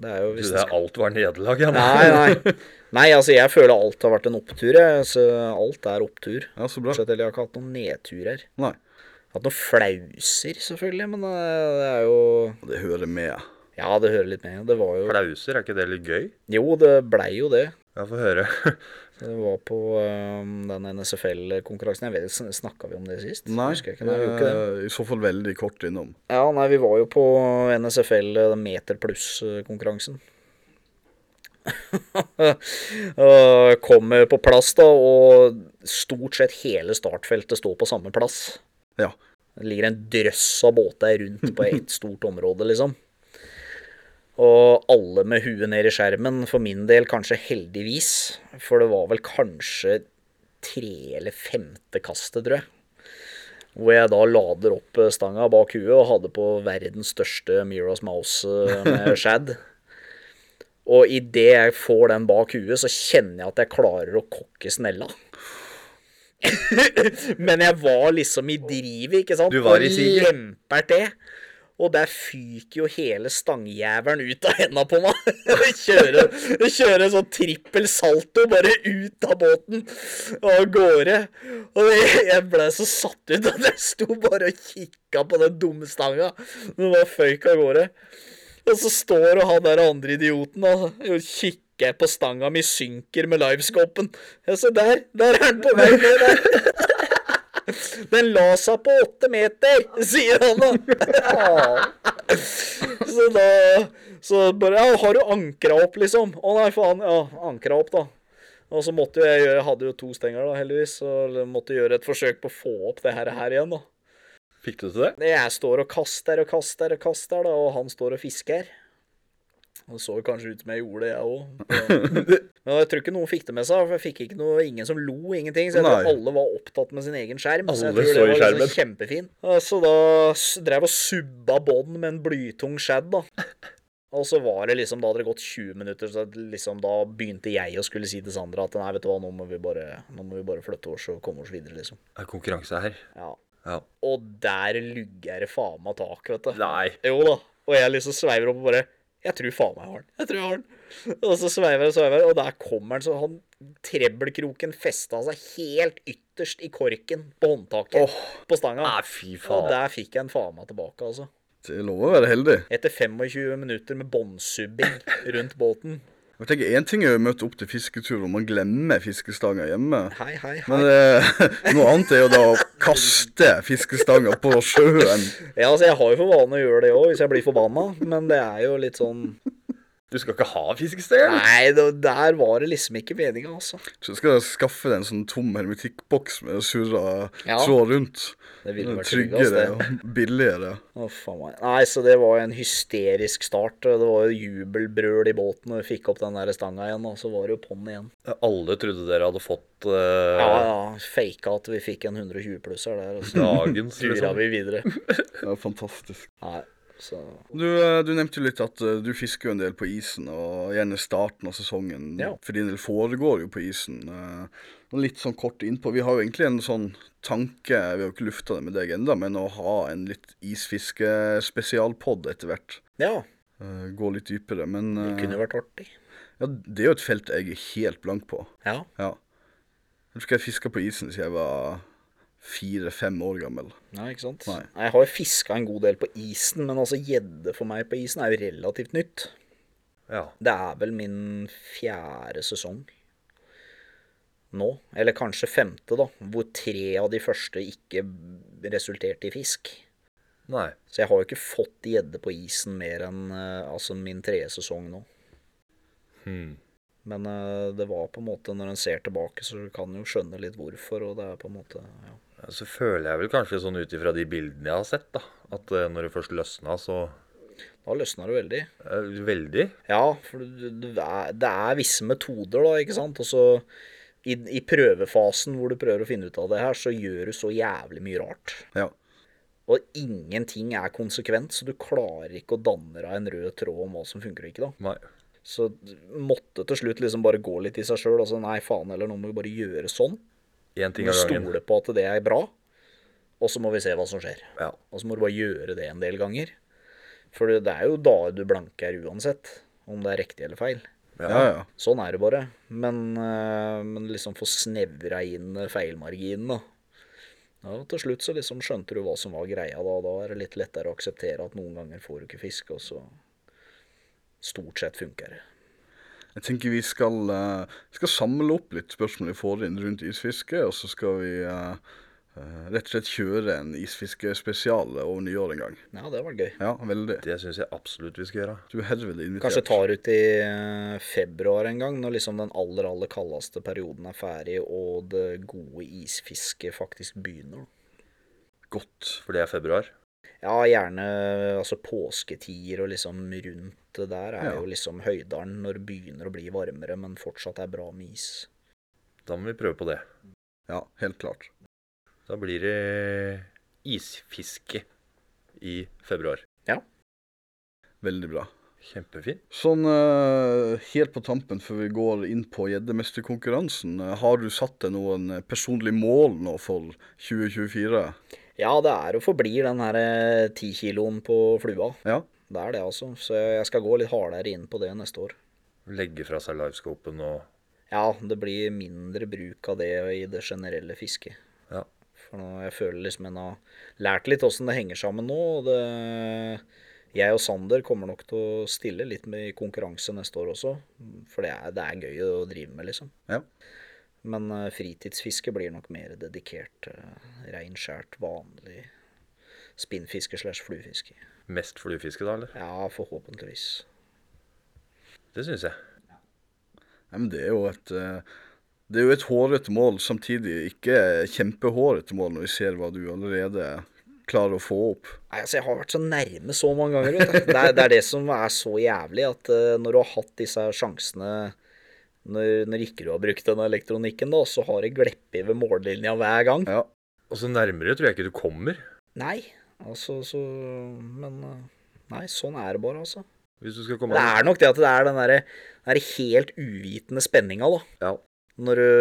D: Det er jo
B: Du,
D: hvis
B: det er alt var nederlag, ja.
D: Nei,
B: [laughs]
D: nei. Nei, altså, jeg føler alt har vært en opptur, jeg. Så alt er opptur.
C: Ja, så bra.
D: Bortsett eller jeg har ikke hatt noen nedturer.
C: Nei,
D: Jeg har hatt noen flauser, selvfølgelig, men eh, det er jo
C: det hører med.
D: Ja, det hører litt med. Det var jo
B: Klauser, er ikke det litt gøy?
D: Jo, det blei jo det.
B: Jeg får høre.
D: Det var på øhm, den NSFL-konkurransen. Jeg vet ikke, Snakka vi om det sist?
C: Nei,
D: Husker jeg ikke. Nei, vi gjorde ikke det.
C: eh, i så fall veldig kort innom.
D: Ja, nei, vi var jo på NSFL eh, meter pluss-konkurransen. [laughs] Og Kommer på plass, da, og stort sett hele startfeltet står på samme plass.
C: Ja.
D: Det ligger en drøss av båter rundt på ett stort område, liksom. Og alle med huet ned i skjermen, for min del kanskje heldigvis. For det var vel kanskje tre eller femte kastet, tror jeg. Hvor jeg da lader opp eh, stanga bak huet og hadde på verdens største Miras Mouse eh, med Shad. Og idet jeg får den bak huet, så kjenner jeg at jeg klarer å kokke snella. [laughs] Men jeg var liksom i drivet, ikke sant?
B: Du var i siget.
D: Og lemper til. Og der fyker jo hele stangjævelen ut av henda på meg. [laughs] Jeg kjører, jeg kjører en sånn trippel salto bare ut av båten og av gårde. Og jeg- jeg ble så satt ut at jeg sto bare og kikka på den dumme stanga. Den bare føyk av gårde. Og så står og han der andre idioten og og kikker jeg på stanga mi synker med livescopen. Ja, se der! Der er den på vei ned, der! Den la seg på åtte meter, sier han da. Så da Så bare Ja, har du ankra opp, liksom? Å nei, faen. Ja, ankra opp, da. Og så måtte jo jeg gjøre Jeg hadde jo to stenger, da, heldigvis. Så måtte gjøre et forsøk på å få opp det her, her igjen, da.
B: Fikk du til det?
D: Jeg står og kaster og kaster og kaster, da, og han står og fisker. Det så kanskje ut som jeg gjorde det, jeg
B: [laughs]
D: òg. Men jeg tror ikke noen fikk det med seg, for jeg fikk ikke noe, ingen som lo, ingenting. Så jeg tror
C: Nei.
D: alle var opptatt med sin egen skjerm. så jeg
B: Alle så
D: tror
B: i
D: det var
B: skjermen.
D: liksom kjempefin. Og Så da s- drev og subba bånd med en blytung shad, da. Og så var det liksom, da hadde det gått 20 minutter, så liksom da begynte jeg å skulle si til Sandra at nei, vet du hva, nå må vi bare, nå må vi bare flytte oss og komme oss videre, liksom.
B: Det er konkurranse her.
D: Ja.
B: Ja.
D: Og der lugger det faen meg tak, vet du.
B: Nei.
D: Jo da. Og jeg liksom sveiver opp og bare Jeg tror faen meg jeg har den. Jeg tror jeg har den. Og så sveiver jeg og sveiver, og der kommer han så han Trebbelkroken festa seg helt ytterst i korken på håndtaket på stanga.
B: Nei, fy
D: og
B: faen.
D: der fikk jeg en faen meg tilbake, altså.
C: Det er lov å være heldig.
D: Etter 25 minutter med
B: [laughs]
D: båndsubbing rundt båten.
C: Jeg tenker Én ting er å møte opp til fisketur hvor man glemmer fiskestanga hjemme.
D: Hei, hei, hei.
C: Men eh, [laughs] noe annet er jo da å kaste fiskestanga på sjøen.
D: Ja, altså, jeg har jo for vane å gjøre det òg, hvis jeg blir forbanna, men det er jo litt sånn
B: [laughs] Du skal ikke ha fiskestang?
D: Nei, det, der var det liksom ikke meninga, altså.
C: Så jeg skal skaffe deg en sånn tom hermetikkboks med surra
D: Ja.
C: tråd rundt.
D: Det ville vært tryggest,
C: Tryggere
D: det.
C: og billigere.
D: Å, faen meg. Nei, så det var en hysterisk start. Det var jo jubelbrøl i båten, og vi fikk opp den der stanga igjen, og så var det jo på'n igjen.
B: Alle trodde dere hadde fått eh,
D: Ja, ja. Faka at vi fikk en 120-plusser der, og [laughs] så
B: dagens,
D: dura
B: liksom.
D: vi sånn. videre.
C: Det er fantastisk.
D: Nei, så
C: Du, eh, du nevnte jo litt at eh, du fisker jo en del på isen, og gjerne starten av sesongen
D: Ja.
C: for din del foregår jo på isen. eh, og Litt sånn kort innpå Vi har jo egentlig en sånn tanke, vi har jo ikke lufta det med deg ennå, men å ha en litt isfiskespesialpod etter hvert.
D: Ja,
C: Eh, gå litt dypere, men
D: det
C: eh,
D: kunne jo vært artig.
C: ja, det er jo et felt jeg er helt blank på.
D: Ja.
C: Ja. Jeg husker jeg fiska på isen siden jeg var fire-fem år gammel.
D: Nei, ikke sant?
C: Nei.
D: Jeg har fiska en god del på isen, men altså gjedde for meg på isen er jo relativt nytt.
B: Ja.
D: Det er vel min fjerde sesong nå, eller kanskje femte, da, hvor tre av de første ikke resulterte i fisk.
B: Nei.
D: Så jeg har jo ikke fått gjedde på isen mer enn eh, altså min tredje sesong nå.
B: Hmm.
D: Men eh, det var på en måte, når en ser tilbake, så kan en jo skjønne litt hvorfor, og det er på en måte ja.
B: Så føler jeg vel kanskje sånn ut ifra de bildene jeg har sett, da, at eh, når det først løsna, så
D: Da løsna det veldig.
B: eh, Veldig.
D: Ja, for du- du- det er, det er visse metoder, da, ikke sant. Og så i, i prøvefasen hvor du prøver å finne ut av det her, så gjør du så jævlig mye rart.
C: Ja.
D: Og ingenting er konsekvent, så du klarer ikke å danne deg en rød tråd om hva som funker og ikke, da.
B: Nei.
D: Så du måtte til slutt liksom bare gå litt i seg sjøl. Altså nei, faen heller, nå må vi bare gjøre sånn.
B: Én ting
D: Vi
B: av gangen.
D: stole på at det er bra, og så må vi se hva som skjer.
B: Ja.
D: Og så må du bare gjøre det en del ganger. For det det er jo da du blanker uansett, om det er riktig eller feil.
C: Ja, ja.
D: Sånn er det bare. Men, eh, men liksom få snevra inn eh, feilmarginen, da. Ja, og til slutt så liksom skjønte du hva som var greia, da. Da er det litt lettere å akseptere at noen ganger får du ikke fisk, og så Stort sett funker det.
C: Jeg tenker vi skal, eh, vi skal samle opp litt spørsmål vi får inn rundt isfiske, og så skal vi eh, eh, rett og slett kjøre en isfiskespesial over nyår en gang.
D: Ja, det var gøy.
C: Ja, veldig.
B: Det syns jeg absolutt vi skal gjøre.
C: Du er herved invitert.
D: Kanskje tar ut i eh, februar en gang, når liksom den aller, aller kaldeste perioden er ferdig, og det gode isfisket faktisk begynner. da.
C: Godt.
B: For det er februar.
D: Ja, gjerne altså påsketider og liksom rundt det der er
C: Ja.
D: jo liksom høydalen når det begynner å bli varmere, men fortsatt er bra med is.
B: Da må vi prøve på det.
C: Ja, helt klart.
B: Da blir det isfiske i februar.
C: Veldig bra.
B: Kjempefint.
C: Sånn eh, helt på tampen før vi går inn på gjeddemesterkonkurransen, eh, har du satt deg noen eh, personlige mål nå for 2024?
D: Ja, det er og forblir den her eh, 10 kiloen på flua.
C: Ja,
D: Det er det, altså. Så jeg skal gå litt hardere inn på det neste år.
B: Legge fra seg livescopen og
D: Ja, det blir mindre bruk av det i det generelle fisket.
B: Ja.
D: For nå, jeg føler liksom en har lært litt åssen det henger sammen nå. Og det, jeg og Sander kommer nok til å stille litt med i konkurranse neste år også. For det er, det er gøy å drive med, liksom.
C: Ja.
D: Men eh, fritidsfiske blir nok mer dedikert eh, rein, skjært, vanlig spinnfiske slash fluefiske.
B: mest fluefiske, da, eller?
D: Ja, forhåpentligvis.
B: Det syns jeg.
C: Nei, men det er jo et eh, det er jo et hårete mål, samtidig ikke kjempehårete mål når vi ser hva du allerede klarer å få opp.
D: Nei, altså Jeg har vært så nærme så mange ganger. Vet du. Det, er, det er det som er så jævlig, at eh, når du har hatt disse her sjansene når, når ikke du har brukt den elektronikken, da, så har det gleppet ved mållinja hver gang.
C: Ja,
B: Og så nærmere tror jeg ikke du kommer.
D: Nei, altså så Men eh, nei, sånn er det bare, altså.
B: Hvis du skal komme
D: Det er nok det at det er den derre den der helt uvitende spenninga, da.
B: Ja.
D: Når du,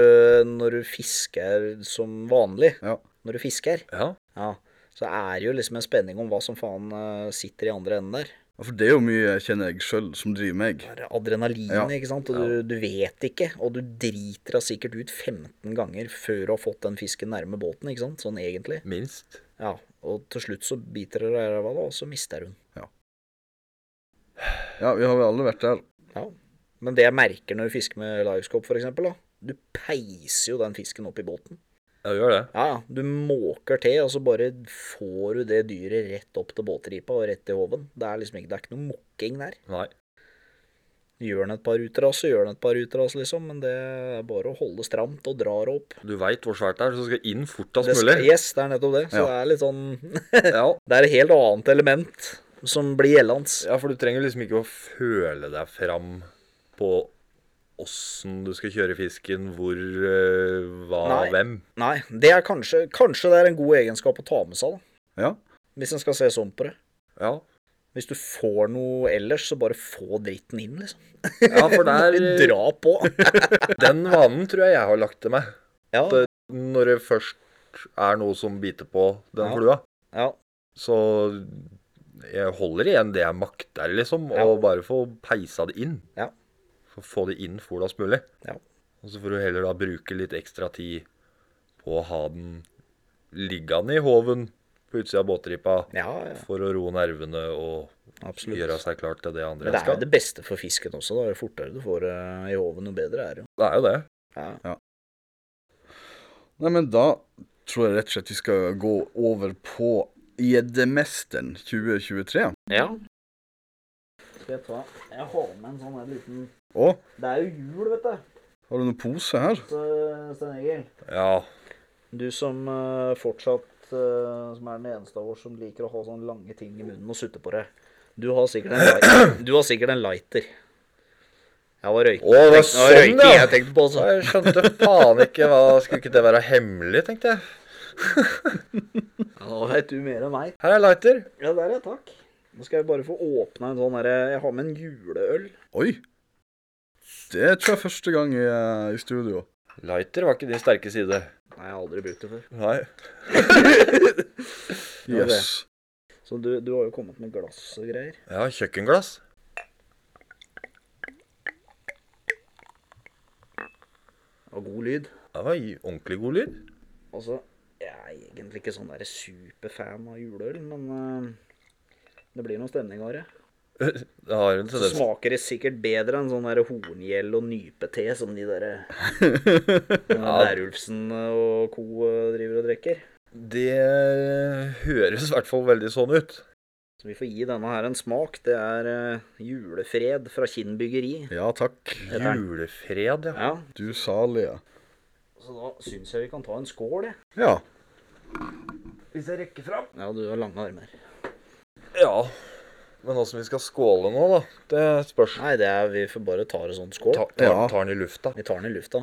D: når du fisker som vanlig.
C: Ja.
D: Når du fisker.
B: Ja.
D: Ja. Så er det jo liksom en spenning om hva som faen eh, sitter i andre enden der.
C: for det er jo mye jeg kjenner jeg sjøl som driver meg.
D: Det er adrenalin,
C: Ja.
D: ikke sant? Og du, du vet ikke, og du driter deg sikkert ut 15 ganger før du har fått den fisken nærme båten, ikke sant? Sånn egentlig.
B: Minst.
D: Ja, og til slutt så biter det deg i ræva, da, og så mister hun.
C: Ja, vi har vel alle vært der.
D: Men det jeg merker når du fisker med livescope, for eksempel, da, du peiser jo den fisken opp i båten.
B: Ja, gjør det.
D: Ja, ja, du måker til, og så bare får du det dyret rett opp til båtripa og rett til hoven. Det er liksom ikke, det er ikke noe mokking der.
B: Nei.
D: Gjør den et par utras, så gjør den et par utras, liksom, men det er bare å holde stramt og dra det opp.
B: Du veit hvor svært det er, så du skal inn fortest
D: Det skal,
B: mulig.
D: yes, det er nettopp det. Så
C: Ja.
D: det er litt sånn [laughs]
B: Ja.
D: Det er et helt annet element som blir gjeldende.
B: ja, for du trenger liksom ikke å føle deg fram på åssen du skal kjøre fisken, hvor, eh, hva,
D: Nei.
B: hvem.
D: Nei, det er kanskje Kanskje det er en god egenskap å ta med seg, da.
C: Ja.
D: Hvis en skal se sånn på det.
B: Ja.
D: Hvis du får noe ellers, så bare få dritten inn, liksom.
B: ja, for
D: [laughs]
B: der
D: Bare Dra på.
B: [laughs] Den vanen tror jeg jeg har lagt til meg.
D: Ja,
B: Det- Når det først er noe som biter på den
D: Ja.
B: flua,
D: ja.
B: så jeg holder igjen det jeg makter, liksom, og bare få peisa det inn.
D: Ja.
B: Få- Få det inn fortest mulig.
D: Ja.
B: Og så får du heller da bruke litt ekstra tid på å ha den ligger han i håven på utsida av båtripa
D: Ja, ja,
B: for å roe nervene og gjøre
D: absolutt.
B: seg klar til det
D: Men
B: andre
D: det
B: han
D: er jo
B: skal.
D: det beste for fisken også, da. Jo fortere du får eh, i hoven, jo bedre er det jo.
B: Det er jo det.
D: Ja.
C: Nei, men da tror jeg rett og slett vi skal gå over på Gjeddemesteren 2023.
D: ja. Skal jeg ta Jeg har med en sånn her liten
C: Å,
D: Det er jo jul, vet du,
C: har du noen pose her?
D: så- Stein Egil.
B: Ja,
D: Du som eh, fortsatt eh, Som er den eneste av oss som liker å ha sånne lange ting i munnen og sutte på det. Du har sikkert en, light, [coughs] du har sikkert en lighter. Jeg var røyk.
B: Å, det var
D: tenkte- det var
B: sånn,
D: røyking
B: ja.
D: jeg tenkte på.
B: Ja,
D: Altså.
B: Jeg skjønte faen ikke hva Skulle ikke det være hemmelig, tenkte jeg.
D: Ja, Nå vet du mer enn meg.
B: Her er lighter.
D: Ja, der er takk. Nå skal jeg bare få åpna en sånn herre Jeg har med en juleøl.
C: Oi. Det tror jeg er første gang i, eh, i studio.
B: Lighter var ikke din sterke side.
D: Nei, jeg har aldri brukt det før.
B: Nei.
D: Ja, det.
C: Yes.
D: Så du, du har jo kommet med glass og greier.
B: Ja, kjøkkenglass.
D: Og god lyd.
B: Det var i- ordentlig god lyd.
D: Altså, jeg er egentlig ikke sånn der superfan av juleøl, men eh, det blir noe stemning av det.
B: Det har en
D: Så
B: tendens
D: smaker det sikkert bedre enn sånn der horngjell og nypete som de [laughs] der Lærulfsen og co. eh, driver og drikker.
B: Det eh, høres i hvert fall veldig sånn ut.
D: Så vi får gi denne her en smak. Det er eh, julefred fra Kinn byggeri.
C: Ja takk,
D: Heter den.
B: Julefred, ja.
D: Ja,
C: du salige.
D: så da syns jeg vi kan ta en skål, jeg.
C: Ja.
B: Hvis jeg rekker fram.
D: Ja, du har lange armer.
B: Ja. Men åssen vi skal skåle nå, da? Det spørs.
D: Nei, det er, vi får bare ta det sånn skål.
B: Ta,
C: Ja.
B: ta, tar den i lufta.
D: Vi tar den i lufta,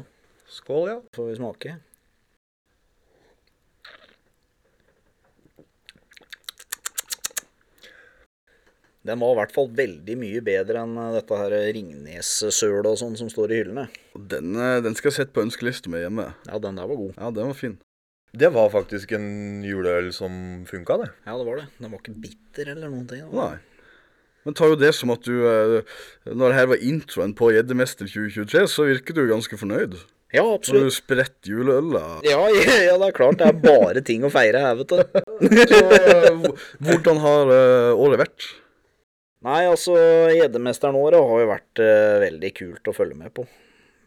B: Skål, ja.
D: så får vi smake. Den var i hvert fall veldig mye bedre enn eh, dette her Ringnes-sølet og sånn som står i hyllene.
C: Den, eh, den skal jeg sette på ønskelista mi hjemme.
D: Ja, den der var god.
C: Ja, den var fin.
B: Det var faktisk en juleøl som funka, det.
D: Ja, det var det. Den var ikke bitter eller noen ting. da.
C: Nei. Men tar jo det som at du eh, Når her var introen på Gjeddemester 2023, så virker du ganske fornøyd.
D: Ja,
C: Når du
D: absolutt.
C: spretter juleøla.
D: Ja, [laughs] ja, ja, det er klart. Det er bare ting å feire her, vet du.
C: Så, eh, hv- Hvordan har eh, året vært?
D: Nei, altså, Gjeddemesteren året har jo vært eh, veldig kult å følge med på.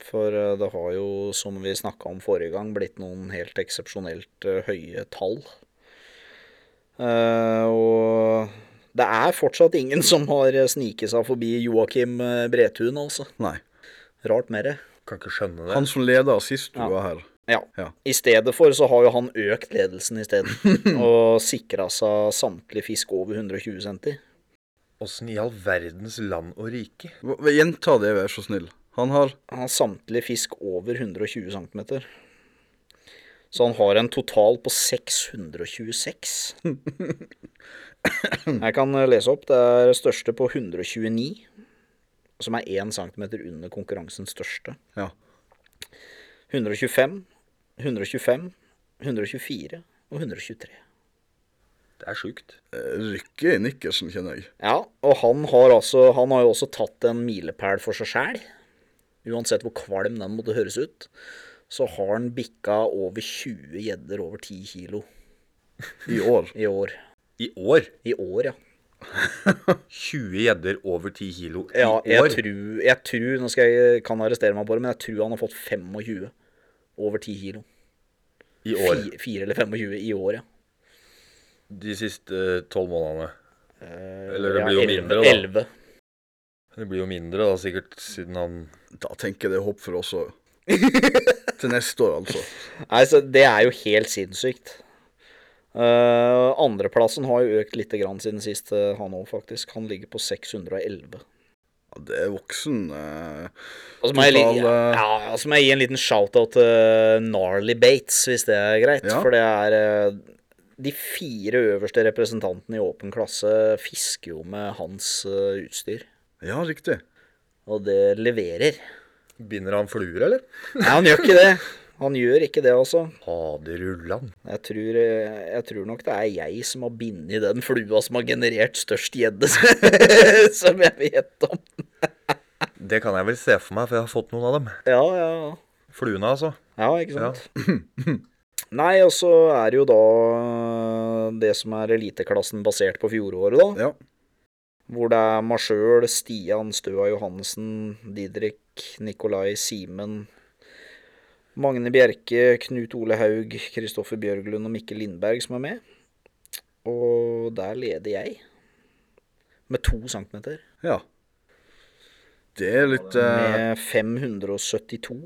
D: For eh, det har jo, som vi snakka om forrige gang, blitt noen helt eksepsjonelt eh, høye tall. Eh, og det er fortsatt ingen som har eh, sniket seg forbi Joakim eh, Bretun, altså.
C: Nei.
D: Rart med det.
B: Kan ikke skjønne det.
C: Han som leda sist du
D: Ja.
C: var her.
D: Ja.
C: Ja.
D: I stedet for så har jo han økt ledelsen isteden, og sikra seg samtlig fisk over 120 cm.
B: Åssen i all verdens land og rike?
C: Hva- hva- Gjenta det, vær så snill. Han har
D: Han har samtlig fisk over 120 cm. Så han har en total på 626. Jeg kan eh, lese opp. Det er det største på 129, som er 1 cm under konkurransens største.
C: Ja.
D: 125, 125, 124 og 123.
B: Det er sjukt.
C: eh, rykke i nikkersen, kjenner jeg.
D: Ja, og han har, altså, han har jo også tatt en milepæl for seg sjæl. Uansett hvor kvalm den måtte høres ut, så har han bikka over 20 gjedder over 10 kilo
C: I år.
D: [laughs] i år.
B: I år?
D: I år, ja.
B: 20 gjedder over 10 kilo i
D: ja
B: år?
D: jeg, tror, jeg tror, nå skal jeg kan arrestere meg på det, men jeg tror han har fått 25 over 10 kilo.
B: I år.
D: Fire, fire eller 25 i år, ja.
B: De siste tolv månedene.
D: Eh,
B: Eller det
D: ja,
B: blir jo
D: 11
B: mindre, da.
D: 11.
B: Det blir jo mindre, da, sikkert, siden han
C: Da tenker jeg det er håp for oss
D: [laughs]
C: òg. Til neste år, altså.
D: Nei, så det er jo helt sinnssykt. Eh, andreplassen har jo økt lite grann siden sist, eh, han òg, faktisk. Han ligger på 611.
C: Ja, det er voksen eh,
D: Og så må jeg, li-
C: Total, eh,
D: ja, ja, så må jeg gi en liten shout-out til eh, Gnarly Bates, hvis det er greit.
C: Ja.
D: For det er eh, De fire øverste representantene i åpen klasse fisker jo med hans eh, utstyr.
C: Ja, riktig.
D: Og det leverer.
B: Binder han fluer, eller?
D: Nei, han gjør ikke det. Han gjør ikke det, altså.
B: Faderullan.
D: Jeg tror, eh, jeg tror nok det er jeg som har bindet den flua som har generert størst gjedde, [laughs] som- som jeg vet om.
B: Det kan jeg vel se for meg, for jeg har fått noen av dem.
D: Ja, ja, ja.
B: Fluene, altså.
D: Ja, ikke sant. Nei, og så er det jo da eh, det som er eliteklassen basert på fjoråret, da.
C: Ja.
D: Hvor det er meg sjøl, Stian Støa Johannessen, Didrik, Nikolai Simen, Magne Bjerke, Knut Ole Haug, Kristoffer Bjørglund og Mikkel Lindberg som er med. Og der leder jeg. Med to centimeter.
C: ja. Det er litt eh,
D: Med 572.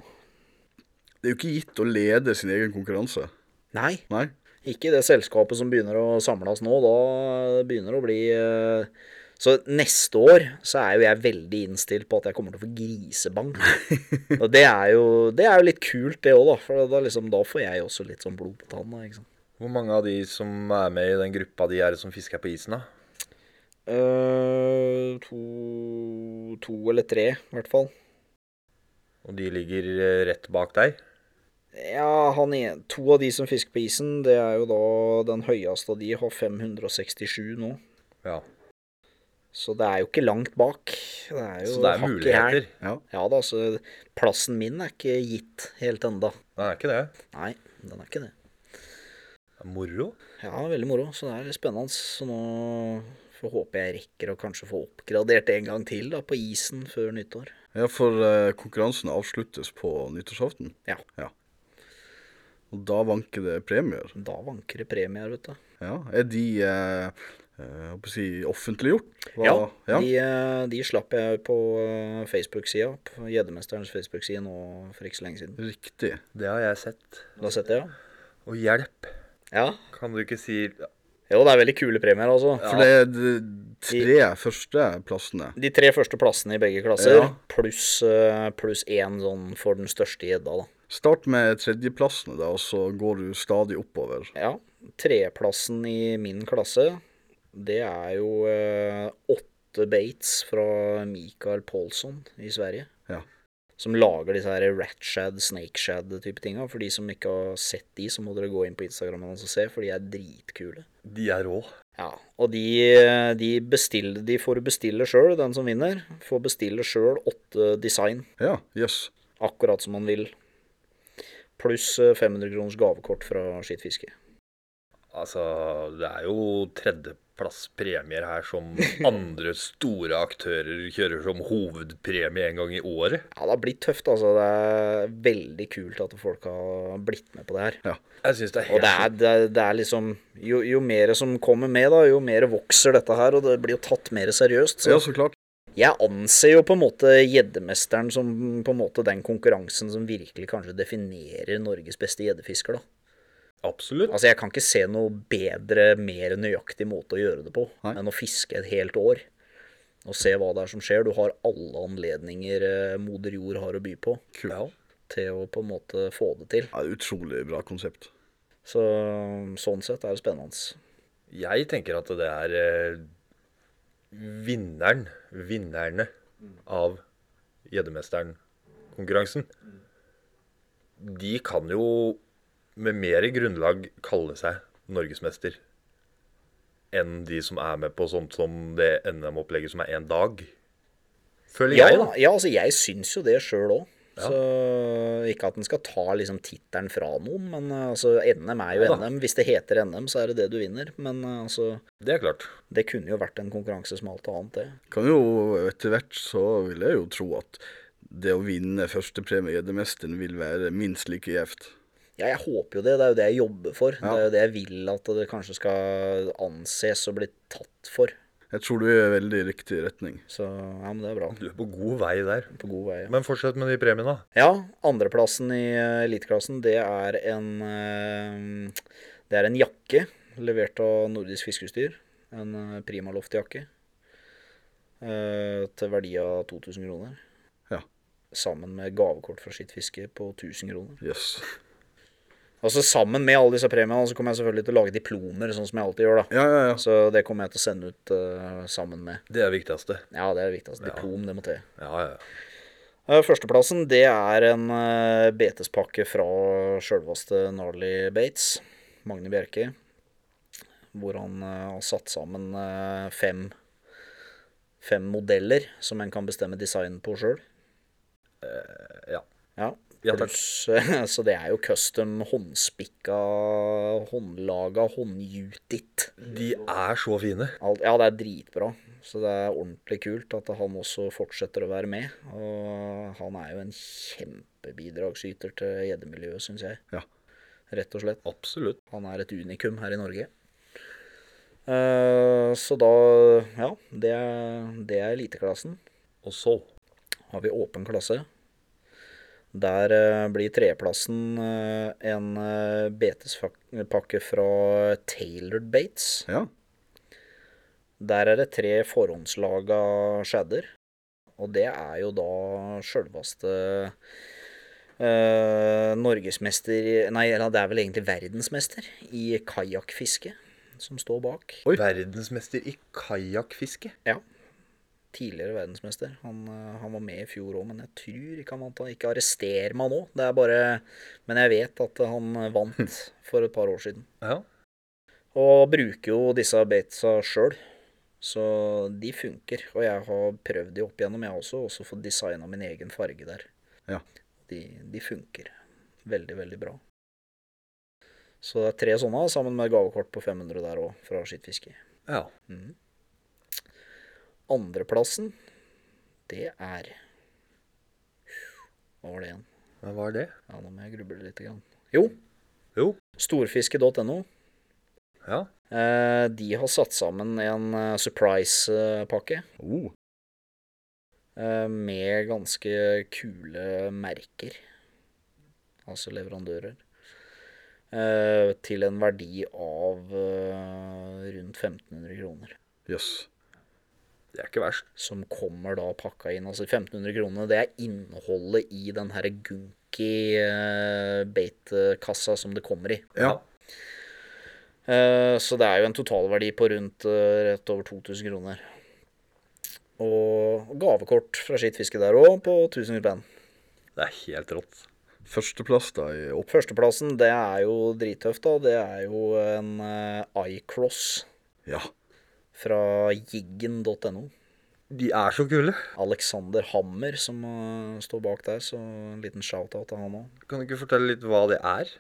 C: Det er jo ikke gitt å lede sin egen konkurranse.
D: Nei,
C: Nei.
D: Ikke det selskapet som begynner å samles nå. Da begynner det å bli eh, Så neste år så er jo jeg veldig innstilt på at jeg kommer til å få grisebank. Og det er jo, det er jo litt kult, det òg, da. For da, liksom, da får jeg også litt sånn blod på tanna. ikke sant?
B: Hvor mange av de som er med i den gruppa, de er det som fisker på isen, da?
D: Eh, to, to eller tre, i hvert fall.
B: Og de ligger eh, rett bak deg?
D: Ja, han er, to av de som fisker på isen, det er jo da den høyeste av de, har 567 nå.
B: Ja.
D: Så det er jo ikke langt bak. Det er jo
B: Så det er
D: hakk i hæl.
B: muligheter?
D: Ja da, så plassen min er ikke gitt helt enda.
B: Det er ikke det.
D: Nei, den er ikke det.
B: Det er moro.
D: Ja, veldig moro, så det er spennende. Så nå får håpe jeg rekker å kanskje få oppgradert en gang til da, på isen før nyttår.
C: Ja, for eh, konkurransen avsluttes på nyttårsaften.
D: Ja.
C: Og da vanker det premier.
D: Da vanker det premier, vet du.
C: Ja. Er de eh, eh, jeg håper å si offentliggjort? Hva- ja.
D: De, eh, de slapp jeg på eh, Facebook-sida, på Gjeddemesterens Facebook-side nå for ikke så lenge siden.
C: Riktig.
B: Det har jeg sett.
D: Da setter jeg,
B: Og hjelp!
D: ja. Ja.
B: Kan du ikke si
D: Jo, det er veldig kule premier, altså.
C: For det er de tre første plassene.
D: De tre første plassene i begge klasser,
C: Ja.
D: pluss eh, pluss én sånn for den største gjedda, da.
C: Start med tredjeplassene, da, og så går du stadig oppover.
D: Ja. Treplassen i min klasse, det er jo eh, åtte baits fra Mikael Paulsson i Sverige.
C: Ja.
D: Som lager disse her ratshad, snakeshad-type tinga. For de som ikke har sett de, så må dere gå inn på Instagrammen hans og se, for de er dritkule.
B: De er rå.
D: Ja, og de, eh, de, bestiller, de får bestille sjøl, den som vinner. Får bestille sjøl åtte design,
C: Ja, jøss. Yes.
D: akkurat som man vil. Pluss eh, 500 kroners gavekort fra Skitt fiske.
B: Altså, det er jo tredjeplasspremier her som
D: [laughs]
B: andre store aktører kjører som hovedpremie en gang i året.
D: Ja, det har blitt tøft, altså. Det er veldig kult at folk har blitt med på det her.
B: Jeg syns det er
D: Og
B: helt
D: det er, det er, det er liksom jo, jo mer som kommer med, da, jo mer vokser dette her, og det blir jo tatt mer seriøst. Så
C: Ja, så klart.
D: jeg anser jo på en måte gjeddemesteren som på en måte den konkurransen som virkelig kanskje definerer Norges beste gjeddefisker, da.
B: Absolutt.
D: Altså, jeg kan ikke se noe bedre, mer nøyaktig måte å gjøre det på
C: Nei.
D: enn å fiske et helt år og se hva det er som skjer. Du har alle anledninger eh, moder jord har å by på
B: Ja.
D: til å på en måte få det til.
C: Ja, utrolig bra konsept.
D: Så sånn sett er det spennende.
B: Jeg tenker at det er eh, vinneren, vinnerne av Gjeddemesteren-konkurransen. De kan jo med mer grunnlag kalle seg norgesmester enn de som er med på sånt som det NM-opplegget som er én dag. Føler
D: Ja,
B: jeg,
D: da.
B: da.
D: ja, altså jeg syns jo det sjøl òg.
B: Ja.
D: Så ikke at en skal ta liksom tittelen fra noen, men eh, altså NM er jo
B: Ja da.
D: NM. Hvis det heter NM, så er det det du vinner. Men eh, altså,
B: Det er klart.
D: det kunne jo vært en konkurranse som alt annet, det.
C: Kan jo, etter hvert så vil jeg jo tro at det å vinne førstepremie i Gjeddemesteren vil være minst like gjevt.
D: Ja, jeg håper jo det. Det er jo det jeg jobber for.
C: Ja.
D: Det er jo det jeg vil at det kanskje skal anses og bli tatt for.
C: Jeg tror du er veldig i riktig retning.
D: Så ja, men det er bra.
B: Du er på god vei der.
D: På god vei. Ja,
B: Men fortsett med de premiene. da.
D: ja andreplassen i eh, eliteklassen, det er en eh, Det er en jakke levert av Nordisk Fiskeutstyr. En eh, Primaloft-jakke. eh, Til verdi av 2000 kroner.
C: Ja.
D: Sammen med gavekort fra sitt fiske på 1000 kroner.
C: Yes.
D: Altså Sammen med alle disse premiene så kommer jeg selvfølgelig til å lage diplomer, sånn som jeg alltid gjør. da.
C: Ja, ja, ja.
D: Så det kommer jeg til å sende ut eh, sammen med.
B: Det er det viktigste.
D: Ja, det er det viktigste. Diplom, det må til.
B: Ja, ja. ja.
D: Eh, Førsteplassen, det er en eh, betespakke fra sjølveste Gnarly Bates, Magne Bjerke, hvor han eh, har satt sammen eh, fem, fem modeller som en kan bestemme design på sjøl.
B: ja.
D: Ja.
B: Ja, takk.
D: Pluss, [laughs] så det er jo custom håndspikka, håndlaga, håndjutit.
B: De er så fine.
D: Alt, ja, det er dritbra. Så det er ordentlig kult at han også fortsetter å være med. Og han er jo en kjempebidragsyter til gjeddemiljøet, syns jeg.
C: Ja.
D: Rett og slett.
B: Absolutt.
D: Han er et unikum her i Norge. Eh, så da Ja, det er, det er eliteklassen.
B: Og så
D: Har vi åpen klasse. Der eh, blir tredjeplassen eh, en eh, betespakke fra Tailored Bates.
C: Ja.
D: Der er det tre forhåndslaga shadder, og det er jo da sjølveste eh, norgesmester Nei, eller det er vel egentlig verdensmester i kajakkfiske som står bak.
C: Oi.
B: verdensmester i kajakkfiske.
D: Tidligere verdensmester. Han, eh, han var med i fjor òg, men jeg tror ikke han vant. Han ikke arrester meg nå. Det er bare Men jeg vet at han
B: [laughs]
D: vant for et par år siden.
B: Ja.
D: Og bruker jo disse batesa sjøl. Så de funker. Og jeg har prøvd de opp igjennom, jeg også. Også fått designa min egen farge der.
C: Ja.
D: De, de funker veldig, veldig bra. Så det er tre sånne, sammen med gavekort på 500 der òg, fra skittfiske.
B: ja.
D: Mm. Andreplassen, det er Hva var det igjen?
B: Men hva er det?
D: Ja, nå må jeg gruble litt. Grann. Jo,
B: Jo.
D: storfiske.no.
B: Ja.
D: Eh, De har satt sammen en eh, surprise-pakke
C: Oh.
D: eh, med ganske kule merker, altså leverandører, eh, til en verdi av eh, rundt 1500 kroner.
C: Jøss.
B: Det er ikke verst.
D: Som kommer da pakka inn. Altså 1500 kroner, det er innholdet i den her gunky eh, beitekassa som det kommer i.
C: Ja.
D: Eh, Så det er jo en totalverdi på rundt eh, rett over 2000 kroner. Og gavekort fra skittfiske der òg, på 1000 spenn.
B: Det er helt rått.
C: Førsteplass da i opp...
D: Førsteplassen, det er jo drittøft, da. Det er jo en eh, iCross
C: Ja.
D: fra jiggen.no.
B: De er så kule.
D: Alexander Hammer som eh, står bak der, så en liten shout-out til han òg.
B: Kan du ikke fortelle litt hva det er?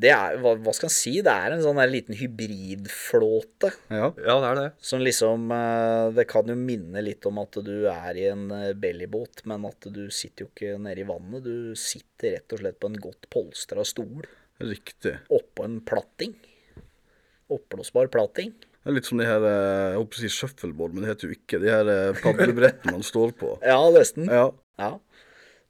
D: Det er, hva, hva skal en si, det er en sånn der liten hybridflåte.
C: Ja.
B: Ja, det er det.
D: Som liksom eh, Det kan jo minne litt om at du er i en eh, bellybåt, men at du sitter jo ikke nede i vannet. Du sitter rett og slett på en godt polstra stol
C: Riktig.
D: oppå en platting. Oppblåsbar platting.
C: Det er litt som de her eh, Jeg holdt på å si shuffleboard, men det heter jo ikke de her eh, padlebrettene man står på.
D: [laughs] Ja, nesten.
C: Ja.
D: Ja.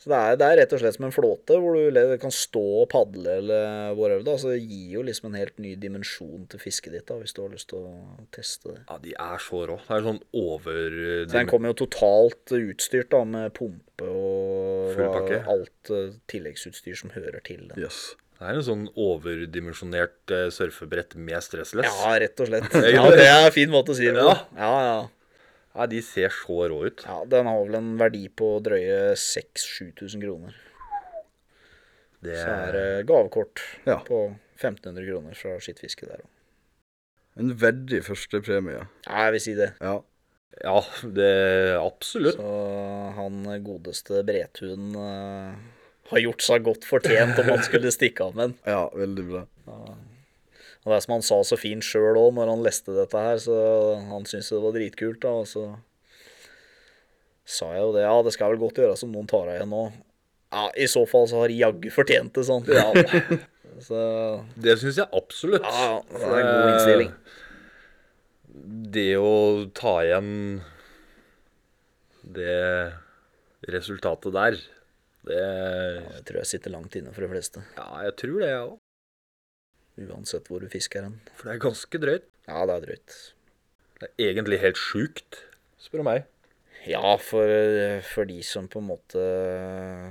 D: Så det er, det er rett og slett som en flåte, hvor du le- kan stå og padle eller whatever. Da. Så det gir jo liksom en helt ny dimensjon til fisket ditt, da, hvis du har lyst til å teste det.
B: Ja, de er så rå. Det er sånn over...
D: Så den kommer jo totalt utstyrt da, med pumpe og
B: Full pakke.
D: alt eh, tilleggsutstyr som hører til den.
C: Yes.
B: Det er en sånn overdimensjonert eh, surfebrett med stressless.
D: Ja, rett og slett.
B: Jeg
D: Ja,
B: gjorde [laughs] det.
D: det er en fin måte å si det på.
B: Ja.
D: Ja, ja.
B: Nei, de ser så rå ut.
D: ja den har vel en verdi på drøye 6000-7000 kroner.
B: Det
D: Så er det gavekort
C: Ja.
D: på 1500 kroner fra skittfiske der òg.
C: En verdig førstepremie.
D: Ja, jeg vil si det.
C: Ja.
B: Ja, det absolutt.
D: Så han godeste Bretun eh, har gjort seg godt fortjent om han skulle stikke av med den.
C: Ja, veldig bra.
D: Og det er som han sa så fint sjøl òg når han leste dette her, så han syntes det var dritkult, da. Og så sa jeg jo det. Ja, det skal vel godt gjøres om noen tar av igjen nå. Ja, i så fall så har de jaggu fortjent det, sånn. [laughs] Ja. Så
B: Det syns jeg absolutt.
D: ja, det er en god innstilling.
B: Eh, Det å ta igjen det resultatet der, det
D: Jeg tror jeg sitter langt inne for de fleste,
B: Ja, jeg tror det, jeg òg.
D: uansett hvor du fisker hen.
B: For det er ganske drøyt.
D: Ja, det er drøyt.
B: Det er egentlig helt sjukt, spør du meg.
D: Ja, for, eh, for de som på en måte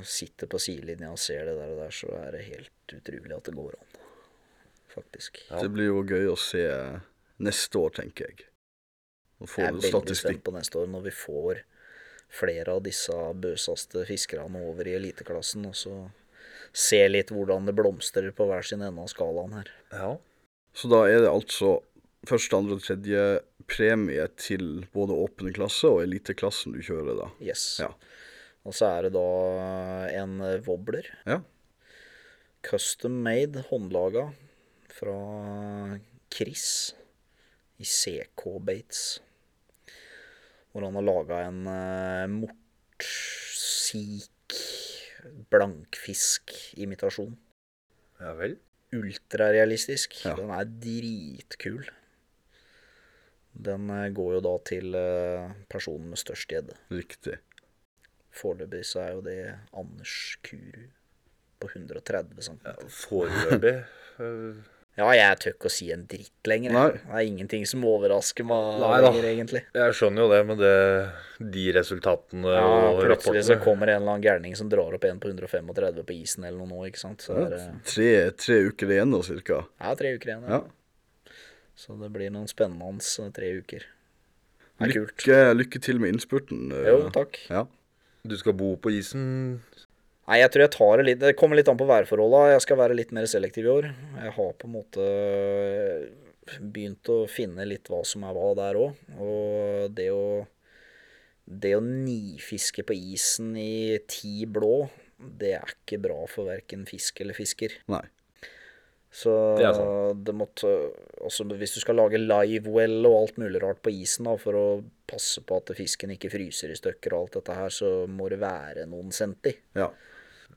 D: sitter på sidelinja og ser det der og der, så er det helt utrolig at det går an, faktisk.
B: Ja.
C: Det blir jo gøy å se neste år, tenker jeg. Og få
D: Jeg er
C: en
D: veldig spent
C: statistikk.
D: på neste år når vi får flere av disse bøsaste fiskerne over i eliteklassen, og så se litt hvordan det blomstrer på hver sin ende av skalaen her.
B: Ja.
C: Så da er det altså første, andre og tredje premie til både åpen klasse og eliteklassen du kjører, da.
D: Yes.
C: Ja.
D: Og så er det da en wobbler
C: Ja.
D: Custom made, håndlaga, fra Chris i CK Bates. Hvor han har laga en eh, mortsik blankfisk-imitasjon.
B: Ja vel.
D: Ultrarealistisk.
C: Ja.
D: Den er dritkul. Den eh, går jo da til eh, personen med størst gjedde.
C: Riktig.
D: Foreløpig så er jo det Anders Kuru på 130 cm.
B: Ja, Foreløpig øh,
D: Ja, jeg tør ikke å si en dritt lenger. jeg.
C: Nei.
D: Det er ingenting som overrasker meg
B: Nei da.
D: lenger, egentlig.
B: Jeg skjønner jo det, men det, de resultatene
D: Ja,
B: og
D: plutselig så
B: rapportene
D: kommer en eller annen gærning som drar opp en på 135 på isen eller noe nå, ikke sant. Så er det
C: Tre, tre uker igjen nå, cirka.
D: ja, tre uker igjen. Ja.
C: Ja.
D: Så det blir noen spennende hans eh, tre uker. Det er kult.
C: Lykke, lykke til med innspurten. eh,
D: Jo, takk.
C: Ja.
B: Du skal bo på isen.
D: Nei, jeg tror jeg tar det litt Det kommer litt an på værforholda. Jeg skal være litt mer selektiv i år. Jeg har på en måte eh, begynt å finne litt hva som er hva der òg. Og det å Det å nifiske på isen i ti blå, det er ikke bra for verken fisk eller fisker.
C: Nei.
D: Så
B: Det
D: det,
B: er sant.
D: måtte Også hvis du skal lage livewell og alt mulig rart på isen da, for å passe på at fisken ikke fryser i stykker og alt dette her, så må det være noen centi.
C: Ja.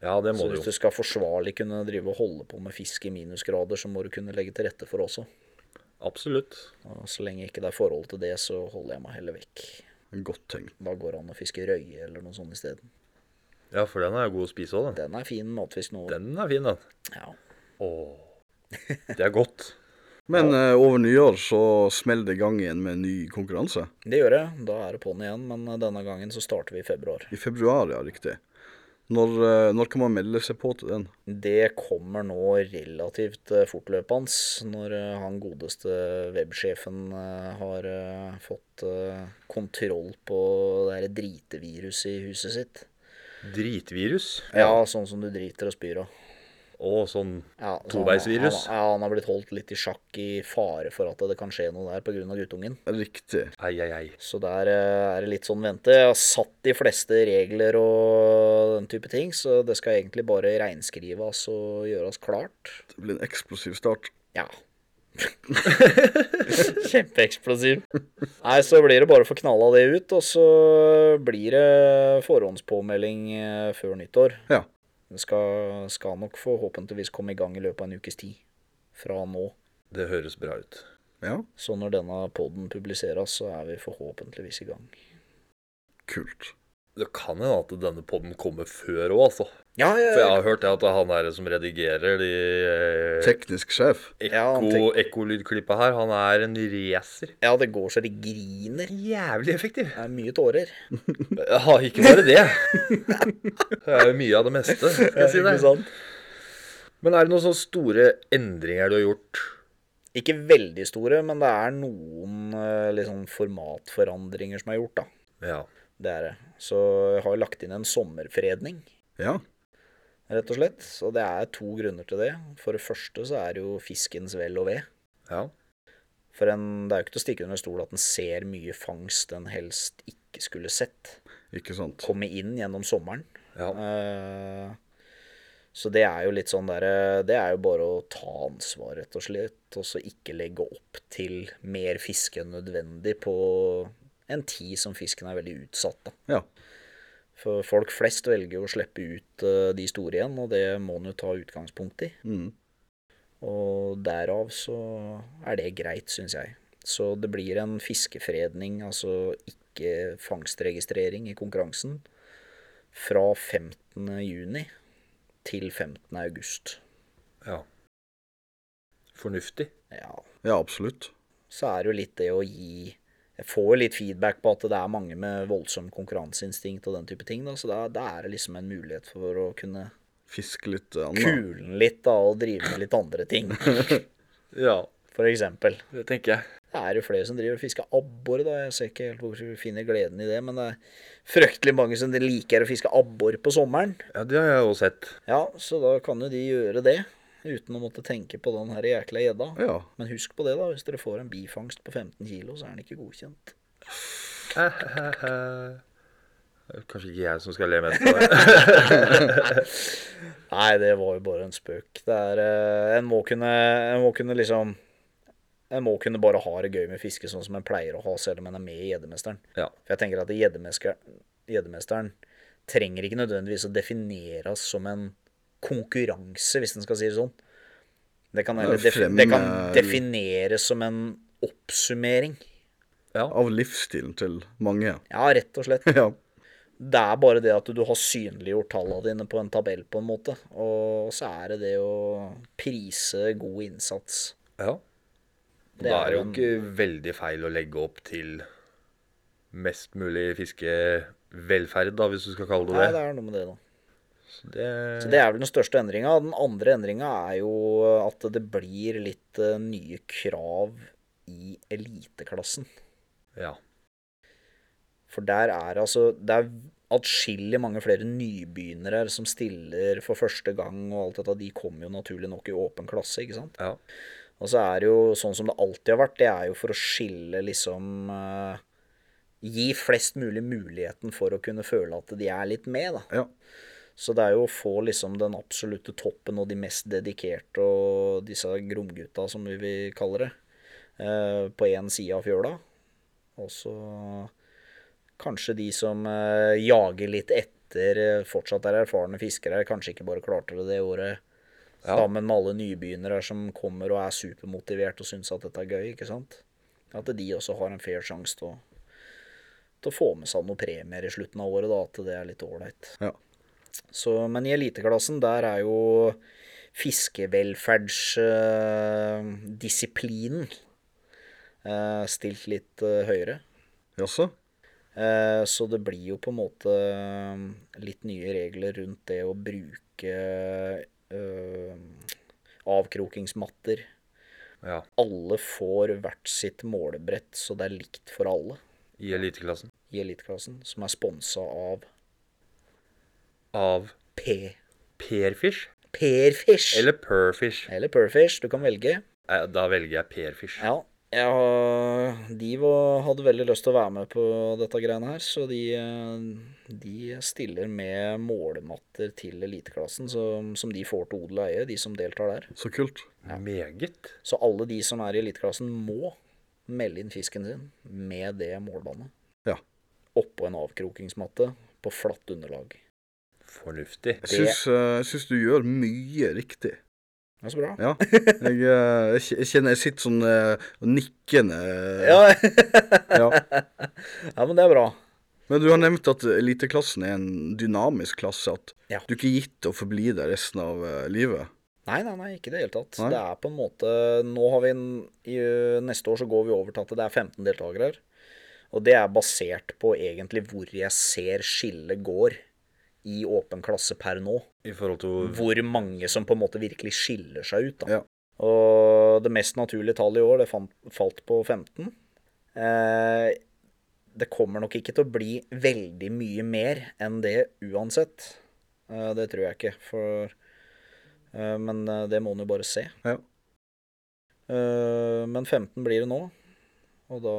B: Ja, det
D: Så
B: må du
D: hvis
B: jo.
D: du skal forsvarlig kunne drive og holde på med fisk i minusgrader, så må du kunne legge til rette for det også.
B: Absolutt.
D: Og så lenge ikke det er forhold til det, så holder jeg meg heller vekk.
C: Godt tenkt.
D: Da går det an å fiske røye eller noe sånt isteden.
B: Ja, for den er jo god å spise òg, den.
D: Den er fin matfisk nå.
B: Den er fin, den.
D: Ja.
B: Åh. Det er godt.
C: Men eh, over nyår så smeller det i gang igjen med en ny konkurranse.
D: Det gjør jeg. Da er det på'n igjen, men eh, denne gangen så starter vi i februar.
C: I februar, ja, riktig. Når, eh, når kan man melde seg på til den?
D: Det kommer nå relativt eh, fortløpende når eh, han godeste websjefen eh, har eh, fått eh, kontroll på det her driteviruset i huset sitt.
B: Dritvirus.
D: Ja, sånn som du driter og spyr av.
B: Og sånn
D: Ja, så
B: Toveisvirus.
D: Han, han, ja, han har blitt holdt litt i sjakk i fare for at det kan skje noe der pga. guttungen.
C: Riktig.
B: ei, ei, ei.
D: Så der eh, er det litt sånn vente. Jeg har satt de fleste regler og den type ting, så det skal egentlig bare reinskrives og gjøres klart.
C: Det blir en eksplosiv start.
D: Ja. [laughs] Kjempeeksplosiv. Nei, så blir det bare å få knalla det ut, og så blir det forhåndspåmelding eh, før nyttår.
C: Ja.
D: Det skal, skal nok forhåpentligvis komme i gang i løpet av en ukes tid fra nå.
B: Det høres bra ut.
C: Ja,
D: Så når denne poden publiseres, så er vi forhåpentligvis i gang.
C: kult.
B: Det kan hende at denne podden kommer før òg, altså.
D: Ja,
B: For jeg har hørt det at han der som redigerer de eh,
C: Teknisk sjef.
D: Ja, han
B: ekko,
D: tek-
B: ekkolydklippa her, han er en racer.
D: ja, det går så det griner.
B: Jævlig effektiv.
D: Det er mye tårer.
B: Ja, ikke bare det. Det er jo mye av det meste, skal jeg si
D: Ikke
B: deg.
D: sant?
B: Men er det noen sånne store endringer du har gjort?
D: Ikke veldig store, men det er noen eh, liksom, formatforandringer som er gjort, da.
B: Ja.
D: Det er det. Så jeg har lagt inn en sommerfredning,
C: Ja.
D: rett og slett. Så det er to grunner til det. For det første så er det jo fiskens vel og ve.
B: ja.
D: For en, det er jo ikke til å stikke under stol at en ser mye fangst en helst ikke skulle sett
C: Ikke sant.
D: komme inn gjennom sommeren.
B: ja.
D: Eh, Så det er jo litt sånn derre Det er jo bare å ta ansvar, rett og slett, og så ikke legge opp til mer fiske enn nødvendig på en tid som fisken er veldig utsatt, da.
C: Ja.
D: For folk flest velger jo å slippe ut eh, de store igjen, og det må en jo ta utgangspunkt i.
C: Mm.
D: Og derav så er det greit, syns jeg. Så det blir en fiskefredning, altså ikke fangstregistrering i konkurransen, fra 15. juni til 15. august.
B: ja. Fornuftig.
D: Ja,
C: Ja, absolutt.
D: så er det jo litt det å gi Jeg får jo litt feedback på at det er mange med voldsom konkurranseinstinkt og den type ting, da, så da, da er det liksom en mulighet for å kunne
C: Fiske litt eh, annet.
D: kulen litt da, og drive med litt andre ting,
B: Ja,
D: for eksempel.
B: det tenker jeg.
D: Det er jo flere som driver og fisker abbor, da. Jeg ser ikke helt hvor vi finner gleden i det, men det er fryktelig mange som liker å fiske abbor på sommeren.
B: Ja, Det har jeg òg [laughs] sett.
D: Ja, så da kan jo de gjøre det, uten å måtte tenke på den her jækla gjedda.
C: Ja.
D: Men husk på det, da. Hvis dere får en bifangst på 15 kilo, så er den ikke godkjent.
B: Kanskje ikke jeg som skal le mest av det.
D: Nei, det var jo bare en spøk. Det er, eh, en, må kunne, en må kunne liksom En må kunne bare ha det gøy med fiske, sånn som en pleier å ha, selv om en er med i Gjeddemesteren.
B: Ja.
D: For jeg tenker at gjeddemesker- Gjeddemesteren trenger ikke nødvendigvis å defineres som en konkurranse, hvis en skal si det sånn. Det kan, heller def
C: frem-
D: det kan defineres som en oppsummering.
C: Av livsstilen til mange. [laughs]
D: Ja, rett og slett.
C: ja.
D: Det er bare det at du har synliggjort tallene dine på en tabell, på en måte. Og så er det det å prise god innsats.
B: Ja. Og
D: Det
B: da
D: er
B: er det
D: jo
B: jo
D: en-
B: ikke veldig feil å legge opp til mest mulig fiskevelferd, da, hvis du skal kalle det
D: Nei, det
B: det.
D: er noe med det, da.
B: det,
D: Så Det er vel den største endringa. Den andre endringa er jo at det blir litt eh, nye krav i eliteklassen.
B: Ja.
D: For der er det altså Det er atskillig mange flere nybegynnere som stiller for første gang, og alt dette. De kommer jo naturlig nok i åpen klasse, ikke sant?
B: ja.
D: Og så er det jo sånn som det alltid har vært, det er jo for å skille liksom eh, Gi flest mulig muligheten for å kunne føle at de er litt med, da.
C: Ja.
D: Så det er jo å få liksom den absolutte toppen og de mest dedikerte og disse gromgutta, som vi vil kalle det, eh, på én side av fjøla. Og så kanskje de som eh, jager litt etter, eh, fortsatt er erfarne fiskere, kanskje ikke bare klarte det det året.
B: Ja.
D: Sammen med alle nybegynnere som kommer og er supermotivert og syns at dette er gøy, ikke sant. At de også har en fair sjanse til å til å få med seg noen premier i slutten av året, da, at det er litt ålreit.
C: ja.
D: Så, men i eliteklassen, der er jo eh, fiskevelferdsdisiplinen stilt litt eh, høyere.
C: Jaså?
D: Eh, så det blir jo på en måte eh, litt nye regler rundt det å bruke eh, avkrokingsmatter.
B: ja.
D: Alle får hvert sitt målebrett, så det er likt for alle
B: I eliteklassen.
D: i eliteklassen, som er sponsa av
B: Av
D: P.
B: Perfish
D: Perfish.
B: eller Perfish?
D: Eller Perfish, du kan velge.
B: Eh, Da velger jeg Perfish.
D: Ja, jeg har, de var, hadde veldig lyst til å være med på dette greiene her, så de, eh, de stiller med målematter til eliteklassen som, som de får til odel og eie, de som deltar der.
C: Så kult.
B: Meget.
D: Så alle de som er i eliteklassen må melde inn fisken sin med det målbåndet.
C: Ja.
D: Oppå en avkrokingsmatte på flatt underlag.
B: Fornuftig.
C: Jeg syns, eh, jeg syns du gjør mye riktig.
D: Det er så bra.
C: Ja. Jeg, eh, jeg kj- jeg kjenner jeg sitter sånn eh, og nikkende eh,
D: Ja. [laughs]
C: Ja.
D: ja, men det er bra.
C: Men du har nevnt at eliteklassen er en dynamisk klasse. At
D: Ja.
C: du ikke er gitt å forbli der resten av eh, livet.
D: Nei, nei, nei, ikke i det hele tatt.
C: Nei.
D: Det er på en måte Nå har vi en, i, ø, Neste år så går vi over til at det er 15 deltakere her. Og det er basert på egentlig hvor jeg ser skillet går i åpen klasse per nå.
B: I forhold til
D: Hvor mange som på en måte virkelig skiller seg ut, da.
C: Ja.
D: Og det mest naturlige tallet i år, det fant, falt på 15. Eh, det kommer nok ikke til å bli veldig mye mer enn det uansett. Eh, det tror jeg ikke, for eh, Men eh, det må en jo bare se.
C: Ja.
D: Eh, men 15 blir det nå, og da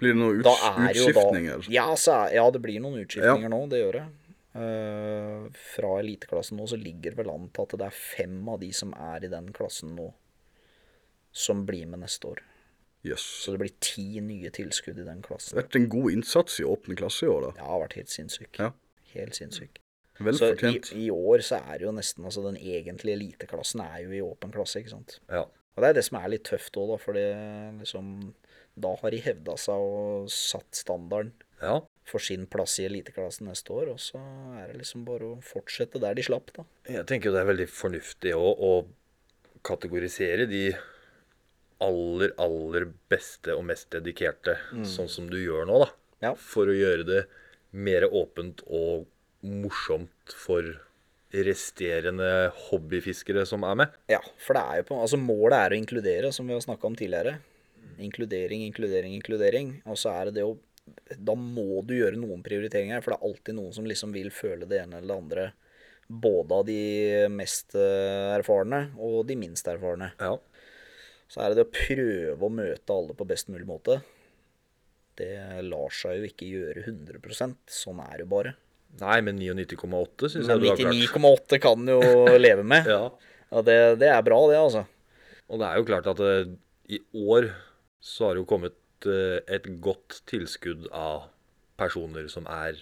C: Blir det noen
D: da
C: uts
D: er jo da
C: utskiftninger?
D: ja, så er, ja, det blir noen utskiftninger nå, det gjør det. Eh, fra eliteklassen nå så ligger det vel an til at det er fem av de som er i den klassen nå, som blir med neste år.
C: Jøss.
D: Så det blir ti nye tilskudd i den
C: Det har
D: klassen.
C: vært en god innsats i åpen klasse i år, da.
D: Det har vært helt sinnssykt.
C: Ja.
D: Helt sinnssykt.
C: Vel
D: Så i,
C: fortjent.
D: i år så er det jo nesten altså Den egentlige eliteklassen er jo i åpen klasse, ikke sant.
B: Ja.
D: Og det er det som er litt tøft òg, da, for det liksom Da har de hevda seg og satt standarden
B: ja.
D: for sin plass i eliteklassen neste år, og så er det liksom bare å fortsette der de slapp, da.
B: Jeg tenker jo det er veldig fornuftig å, å kategorisere de aller, aller beste og mest dedikerte, sånn som du gjør nå, da.
D: Ja.
B: For å gjøre det mer åpent og morsomt for resterende hobbyfiskere som er med.
D: Ja, for det er jo på Altså, målet er å inkludere, som vi har snakka om tidligere. Inkludering, inkludering, inkludering. Og så er det det å Da må du gjøre noen prioriteringer, for det er alltid noen som liksom vil føle det ene eller det andre. Både av de mest eh, erfarne og de minst erfarne.
B: Ja.
D: Så er det det å prøve å møte alle på best mulig måte. Det lar seg jo ikke gjøre 100 Sånn er det jo bare.
B: Nei, men 99,8 syns jeg
D: Men
B: du har klart.
D: 99,8 kan jo
B: [laughs]
D: leve med.
B: Ja.
D: Ja, det, det er bra, det, altså.
B: Og det er jo klart at eh, i år så har det jo kommet eh, et godt tilskudd av personer som er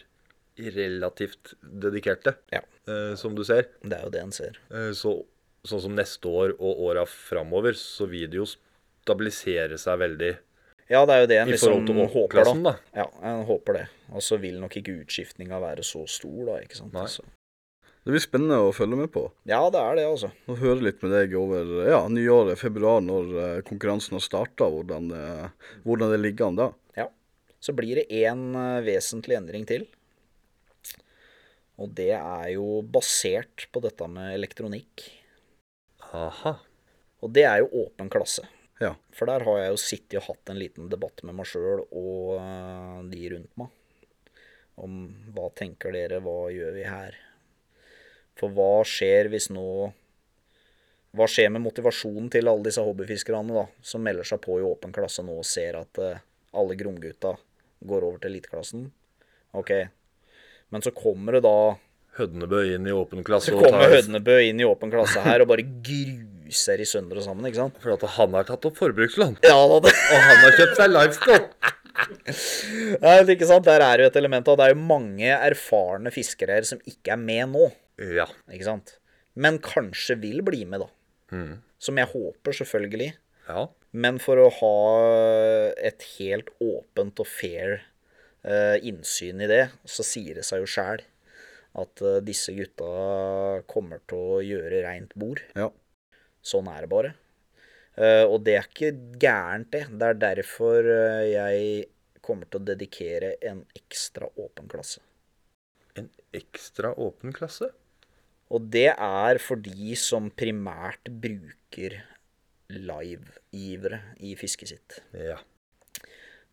B: relativt dedikerte,
D: Ja.
B: eh, som du ser.
D: Det er jo det en ser.
B: Eh, Så, sånn som neste år og åra framover, så vil det jo stabilisere seg veldig
D: Ja, det er jo det en
B: i forhold
D: liksom
B: til
D: håper, da.
B: vårklassen, da.
D: Ja, en håper det. Og så vil nok ikke utskiftninga være så stor, da. ikke sant?
B: Nei.
D: Så.
C: Det blir spennende å følge med på.
D: Ja, det er det, altså.
C: Å høre litt med deg over ja, nyåret, februar, når eh, konkurransen har starta, hvordan, eh, hvordan det ligger an da.
D: Så blir det én eh, vesentlig endring til. Og det er jo basert på dette med elektronikk.
B: Aha.
D: Og det er jo åpen klasse.
C: Ja.
D: For der har jeg jo sittet og hatt en liten debatt med meg sjøl og eh, de rundt meg. Om hva tenker dere, hva gjør vi her? For hva skjer hvis nå Hva skjer med motivasjonen til alle disse hobbyfiskerne da, som melder seg på i åpen klasse nå og ser at eh, alle gromgutta går over til eliteklassen? Ok. Men så kommer det da
B: Hødnebø inn i åpen klasse
D: Så
B: og
D: kommer
B: tar
D: Hødnebø inn i åpen klasse her og bare gruser i sønder og sammen, ikke sant?
B: For at han har tatt opp forbrukslån.
D: Ja da, det
B: Og han har kjøpt seg livestop!
D: [laughs] Nei, det er ikke sant? Der er jo et element av det er jo mange erfarne fiskere her som ikke er med nå.
B: Ja.
D: ikke sant? Men kanskje vil bli med, da. Som jeg håper, selvfølgelig.
B: ja.
D: Men for å ha et helt åpent og fair eh, innsyn i det, så sier det seg jo sjæl at eh, disse gutta kommer til å gjøre reint bord.
C: Ja.
D: Sånn er det bare. Eh, og det er ikke gærent, det. Det er derfor eh, jeg kommer til å dedikere en ekstra åpen klasse.
B: En ekstra åpen klasse?
D: Og det er for de som primært bruker live-givere i fisket sitt.
B: Ja.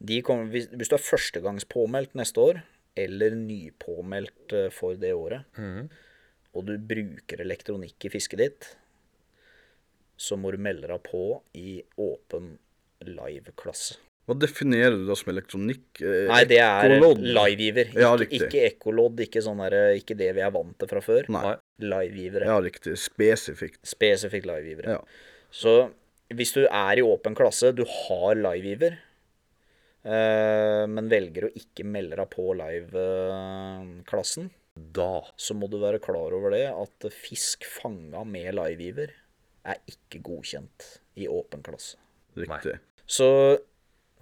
D: De kommer, hvis, hvis du er førstegangspåmeldt neste år, eller nypåmeldt eh, for det året,
B: Mhm.
D: og du bruker elektronikk i fisket ditt, så må du melde deg på i åpen live-klasse.
C: Hva definerer du da som elektronikk? Eh,
D: Nei, det er
C: ekkolodd?
D: livegiver. Ikke,
C: Ja, riktig.
D: ikke ekkolodd, ikke, sånn der- ikke det vi er vant til fra før.
C: Nei.
D: Livegivere.
C: Ja, riktig. Spesifikt.
D: Spesifikt livegivere.
C: Ja.
D: Så hvis du er i åpen klasse, du har livegiver, eh, men velger å ikke melde deg på live-klassen,
B: Da
D: så må du være klar over det at fisk fanga med livegiver er ikke godkjent i åpen klasse.
C: Riktig.
D: Så